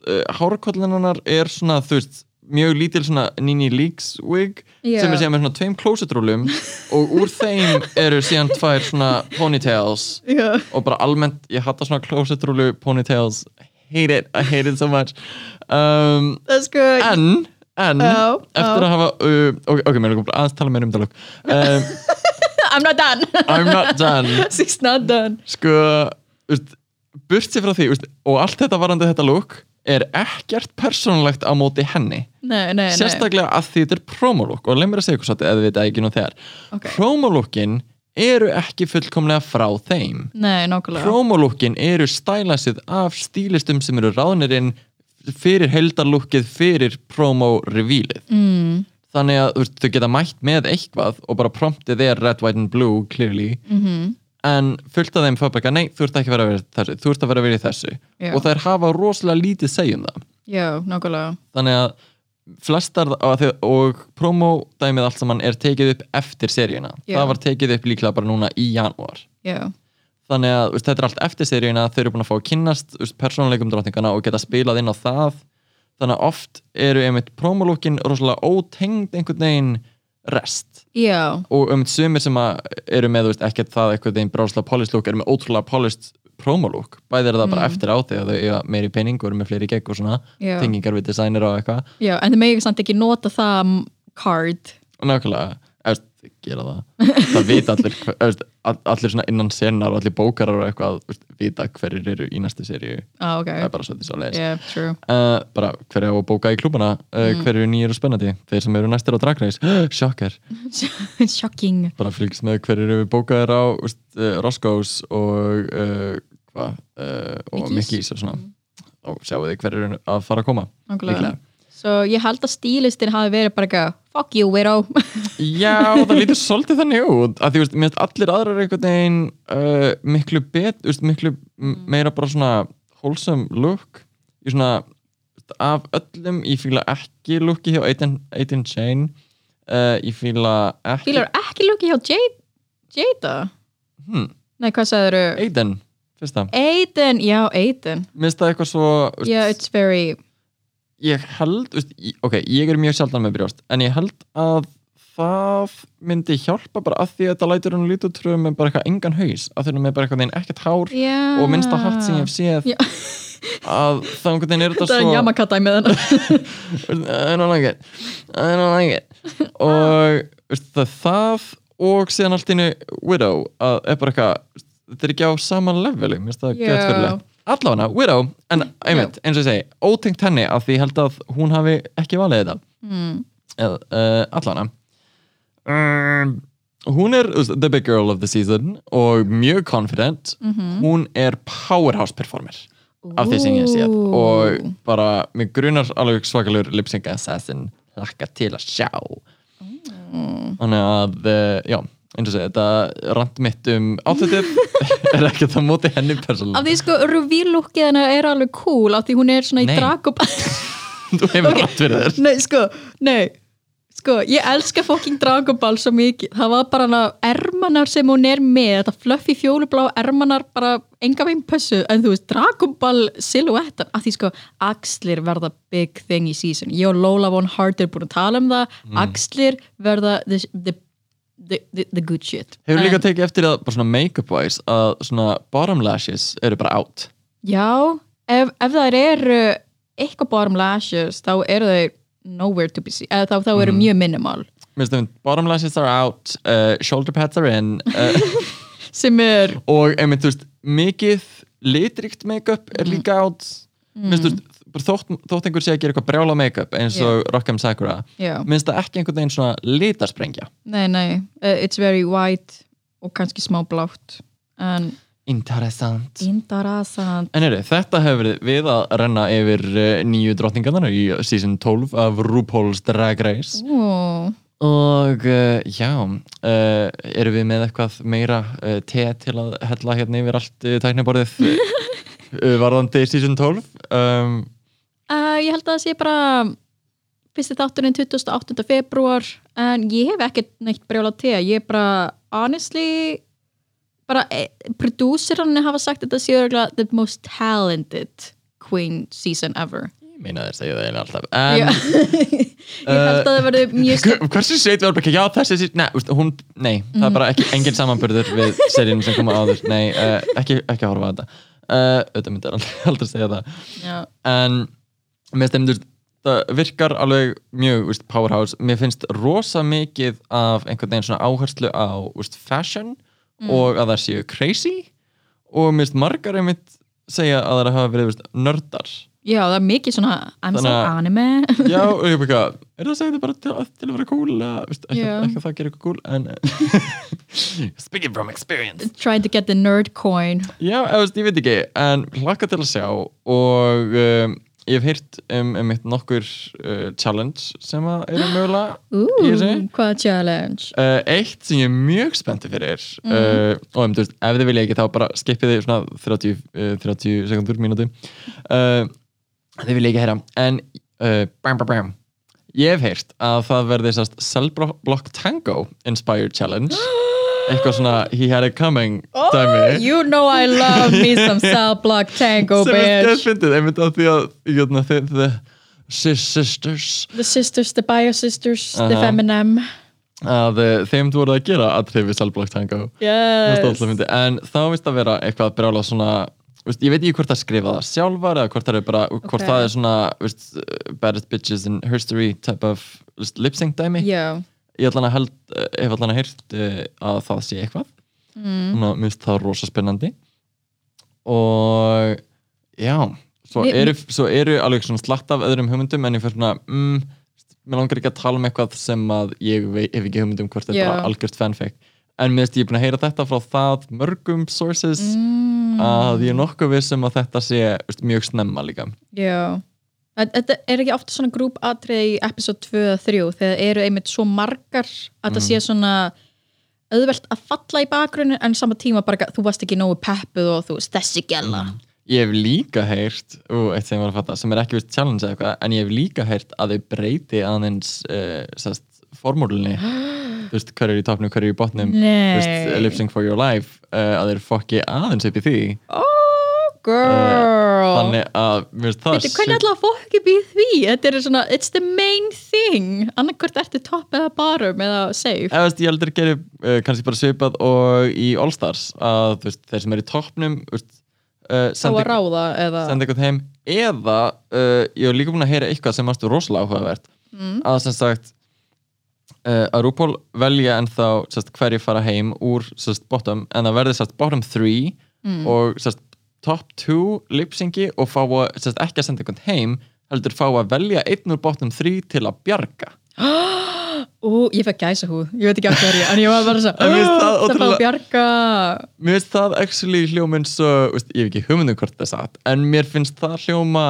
uh, hárkollin hennar er svona þú veist mjög lítil svona Nini Leaks wig
Já.
sem er síðan með svona tveim klósetrúlum og úr þeim eru síðan tvær svona ponytails
Já.
og bara almennt, ég hata svona closetrúlu ponytails, hate it, I hate it so much um,
það er sko
en, en
Já, já.
eftir að hafa uh, ok, ok, mér erum bara aðeins tala meira um það lók um,
I'm not done
I'm not done
she's not done
sko, úst, burt sér frá því úst, og allt þetta varandi þetta lók er ekkert persónulegt á móti henni
nei, nei, nei.
sérstaklega að því þetta er promolúk og leið mér að segja ykkur svolítið eða við þetta ekki nú þegar
Ok.
promolúkin eru ekki fullkomlega frá þeim
nei, nákvæmlega
promolúkin eru stælasið af stílistum sem eru ráðnirinn fyrir heldarlúkið fyrir promo-revílið mm. þannig að þú veist, þau geta mætt með eitthvað og bara promptið er red, white and blue clearly -hmm.
Mhm.
en fullt af þeim fá bara, eitthvað, nei, þú ert ekki að vera að vera í þessu þú ert að vera að vera í þessu
Já.
og þær hafa rosalega lítið segjum það
já, nákvæmlega
þannig að flestar að þið, og promodæmið allt saman er tekið upp eftir seríuna
Já.
það var tekið upp líklega bara núna í janúar
já,
þannig að veist, þetta er allt eftir seríuna þau eru búin að fá að kynnast veist, persónuleikum drottingana og geta spilað inn á það þannig að oft eru einmitt promolókin rosalega ótengd einhvern veginn rest
já,
og um sumir sem að eru með þú veist, ekkert það einhvern veginn bráslega polished look eru með ótrúlega polished promolúk bæði er það bara eftir á því að þau eiga meiri pening og eru með fleiri gegg og svona
Já.
tengingar við designer og eitthvað
já en þið megið samt ekki nota það m- card
nákvæmlega, Eða, þau gera það það vita allir, hver, þú veist, all- allir svona innan senar og allir bókarar og eitthvað þú veist, vita hverjir eru í næstu seríu
ah, ok
það er bara svolítið svo leiðis
yeah, true
uh, bara hverja á að bóka í klúbana uh,
Mhm.
hverju eru nýjir og spennandi, þeir sem eru næstir á dragreis sjokkar,
shocking
bara fylgst með hverju eru bókaðir á þú veist, uh, Roscoe's og uh, hva, uh, og
Mickey's.
Mickey's og svona og sjáu þið hverju eru að fara að koma
Nákvæmlega.
líklega.
svo ég held að stílistin hafi verið bara eitthvað fuck you weirdo
Já, það lítur svolítið þannig út að því, veist, mér finnst allir aðrar einhvern veginn uh, miklu bet, veist, miklu m- meira bara svona wholesome look í svona veist, af öllum, ég fíla ekki looki hjá 18 18 Shane uh, ég fíla ekki
fílar ekki lukki hjá Jade Jada
hmm,
nei hvað sagður
Aiden, finnst það
Aiden já Aiden
mér finnst það eitthvað svo veist,
yeah it's very
ég held, veist, ég- ok, ég er mjög sjaldan með brjóst, en ég held að það myndi hjálpa bara að því að þetta lætur hann lítið tröðum með bara eitthvað engan haus, að því hann er með bara eitthvað neginn ekkert hár
yeah.
og minnsta hatt sem ég hef séð
Já.
að þá einhvern veginn er þetta
þetta Ah. er
svo
Yamakata með hennar
I don't like it I don't like it
Ah.
og veist, það, það og síðan allt innu Widow að er bara eitthvað þetta er ekki á sama leveli mér finnst það
Já.
gett fyrirlega allavega Widow en einmitt eins og ég segi ótengt henni af því ég held að hún hafi ekki valið þetta
mm.
eða uh, allavega um, hún er þú veist, the big girl of the season og mjög confident
Mhm.
hún er powerhouse performer af því sem ég hef séð
Ooh.
og bara, mér grunar alveg svakalur lipsync assassin hlakka til að sjá
Mm.
þannig að, eh, já eins og segja, þetta rant mitt um áttötið er ekkert að móti henni persónulega
af því sko reveal lookið hennar er alveg cool af því hún er svona í
Nei.
dragob
þú hefur okay. rant fyrir þér
nei sko nei sko ég elska fucking dragoball svo mikið það var bara hana ermanar sem hún er með þetta fluffy fjólublá ermanar bara enga veginn pössu en þú veist dragoball silhuettan af því sko axlir verða big thing í season ég og Lola von Hart er búin að tala um það axlir verða the, the, the, the, the good shit
hefur líka
En-
tekið eftir að, bara svona make-up wise að svona bottom lashes eru bara out
Já, ef, ef þær eru eitthvað bottom lashes þá eru þær nowhere to be seen eða þá, þá eru mjög minimal
Mér finnst það, bottom lashes are out, uh, shoulder pads are in uh,
sem er
og einmitt, þú veist, mikið litrikt make-up er líka out mm. minnst, þú veist, bara þótt, þótt einhver sé að gera eitthvað brjála make-up eins og Rockham Sakura
já,
minnst það ekki einhvern veginn svona litasprengja
nei, nei, uh, it's very white og kannski smá blátt en
Interessant
indarasant
En eru, þetta hefur verið við að renna yfir uh, nýju drottningarnar í season 12 af RuPaul's Drag Race
Ó,
og uh, já uh, erum við með eitthvað meira uh, te til að hella hérna yfir allt uh, tækniborðið uh, varðandi season 12 um,
Uh, ég held að það sé bara fyrsti þátturinn 28. februar en ég hef ekkert neitt brjóla til ég er bara honestly bara eh, producerarnir hafa sagt að þetta sé örgulega the most talented queen season ever
ég meina þeir segja það eiginlega alltaf en,
Já. ég held að það verði mjög
Hver- hversu seit var bara ekki, já þessi sí- nei, úst, hún, nei, það er bara ekki
Mhm.
engin samanburður við seríunum sem koma áður nei, uh, ekki, ekki horfa á þetta uh, auðvitað myndi er aldrei segja það
stjórn
en mér finnst þeim, það virkar alveg mjög úst, powerhouse, mér finnst rosa mikið af einhvern veginn svona áherslu á úst, fashion og að það séu crazy og mér finnst margar einmitt segja að það hafa verið úst, nördar
já það er mikið svona I'm so
Þannig að-
anime
já, og ég bara, eitthvað, er það að segja þetta bara til, til að vera cool eða, veist, ekki,
Já.
ekki að það gerir eitthvað cool en speaking from experience
trying to get the nerd coin
Já, eða, veist, ég veit ekki, en hlakka til að sjá og um, ég hef heyrt um, um eitt nokkur uh, challenge sem að eru mögulega í þessu.
Ooh, hvaða challenge
Uh, eitt sem ég er mjög spenntið fyrir uh, og um, þú veist, ef þið vilja ekki þá bara skipið þið svona 30, uh, 30 sekundur mínútu uh, þið vilja ekki heyra en uh, bam, bam, bam. ég hef heyrt að það verði sérst Cellblock Tango Inspired Challenge eitthvað svona He Had It Coming dæmi
Oh, you know I love me some South Block Tango
sem er
bitch
skemmt fyndið einmitt af því að jötna, the, the sis- sisters
The sisters, the bio sisters, the
Aha.
feminem
að uh, þeim þú voru að gera að trefi Cellblock Tango Mér finnst það
Yes
ótrúlega fyndið. en þá vist að vera eitthvað brjála svona Veist, ég veit ekki hvort það skrifa það sjálfar eða hvort það er bara, hvort
Ok.
það er svona veist, uh, baddest bitches in history type of veist, lip sync dæmi
Já,
ég allan að held, eh, hef allan að heyrt eh, að það sé eitthvað
mm.
þannig að mér finnst það rosa spennandi og já svo
Mér-
eru, svo eru alveg svona slatt af öðrum hugmyndum en ég fyrir svona mm, mér langar ekki að tala um eitthvað sem að ég vei- hef ekki hugmyndum hvort þetta
Já.
er bara algjört fanfic en mér finnst ég búin að heyra þetta frá það mörgum sources
Mm.
að ég er nokkuð vissum að þetta sé veist, mjög snemma líka
Já. Þa- Þetta er ekki ofta svona grúp atrið í episode 2 eða 3 þegar eru einmitt svo margar að
Mhm.
það sé svona auðvelt að falla í bakgrunni en sama tíma bara þú varst ekki nógu peppuð og þú veist þessi gæla.
ég hef líka heyrt ú, eitt sem ég var að fatta, sem er ekki vist challenge eða eitthvað en ég hef líka heyrt að þau breyti aðeins uh, sest, formúlunni þú veist, hver er í topnum, hver er í botnum
Nei.
Lipsing for your life uh, að þeir fokki aðeins upp í því
Oh girl.
Eh, þannig að mér finnst það
Veitu, hvernig
sjúkt-
alltaf fólk upp í því? Þetta er svona, it's the main thing. Annarkvort ertu topp eða barum eða safe.
Ef veist, ég heldur að gera uh, kannski bara svipað og í All Stars að þú veist, þeir sem er í topnum uh,
Þá að ráða eða...
senda eitthvað heim eða uh, ég hef líka búin að heyra eitthvað sem mástu rosalega áhugavert að sem sagt uh, að RuPaul velja ennþá sest, hverju fara heim úr sest, bottom en það verði sest, bottom 3 og sest, top 2 lipsingi og fá að, sest, ekki að senda eitthvað heim heldur fá að velja einn úr bottom 3 til að bjarga
Ú, ég fekk gæsa húð, ég veit ekki af hverju, en ég var bara svo,
En mér finnst það
"Ugh, það fá
ótrúlega-
að bjarga.
Mér finnst það actually hljóma eins og veist, ég hef ekki hugmyndum hvort það er satt en mér finnst það hljóma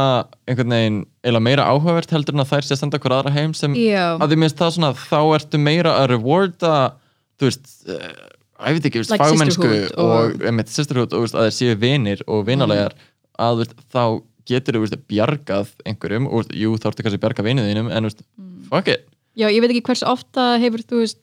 einhvern veginn eila meira áhugavert heldur en að þær sé að senda hver aðra heim sem
Já.
að því mér finnst það svona þá ertu meira að rewarda þú veist uh, ég veit ekki, veist,
Like
fagmennsku
sisterhood og- Mm.
og, og sisterhood og veist, að þeir séu vinir og vinalegar að veist, þá getur þú veist, bjargað einhverjum og veist, jú þá ertu kannski að bjarga vinið þínum en veist,
Mm.
fuck it
Já, ég veit ekki hversu ofta hefur, þú veist,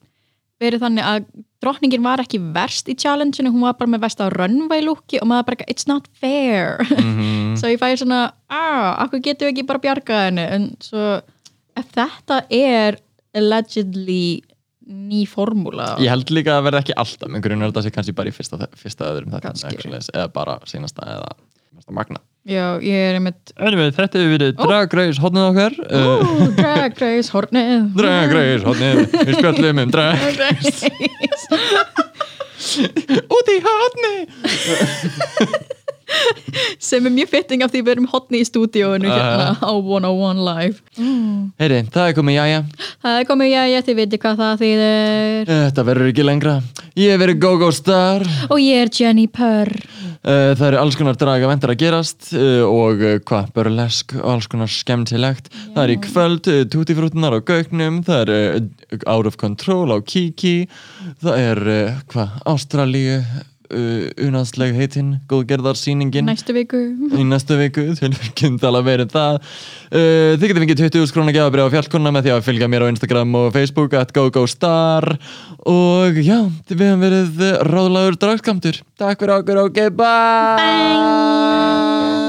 verið þannig að drottningin var ekki verst í challenge-inu, hún var bara með verst á runway-looki og maður bara, it's not fair.
Mm.
svo ég fæði svona, ah, akkur getum við ekki bara bjargað henni, en svo, ef þetta er allegedly ný formúla.
Ég held líka að verða ekki alltaf, menn grunar þetta sé kannski bara í fyrsta, fyrsta öðrum þetta
Kannski.
eða bara sínasta eða mesta magna.
Já, ég er einmitt,
Anyway, þetta hefur verið dragreis hodnið okkar
ú,
uh,
drag race, hornið.
Dragreis hodnið, við spjöllum um drag
race.
Út í hodnið
sem er mjög fitting af því við erum hotni í stúdíóinu hérna á 101 Live
Heyri, það er komið jæja
Það er komið jæja, þið veitir hvað það þýðir
Eh, Þetta verður ekki lengra Ég hef verið GoGo Star uh,
og ég er Jenny Purr
Það eru alls konar draga vendur að gerast uh, og uh, hvað, burlesk og alls konar skemmtilegt Það er í kvöld, uh, tutifrútunar á Gaugnum Það er uh, Out of Control á Kiki Það er, uh, hvað, Ástralíu uh, unansleg heitinn góðgerðarsýningin
næstu viku
í næstu viku tilfengjum tala meir um það uh, þið getum fengið 20 skrona gefabrið á fjallkonna með því að fylgja mér á Instagram og Facebook at gogostar og já, við hefum verið ráðlagur dragskamtur takk fyrir okkur, ok, bye, bye.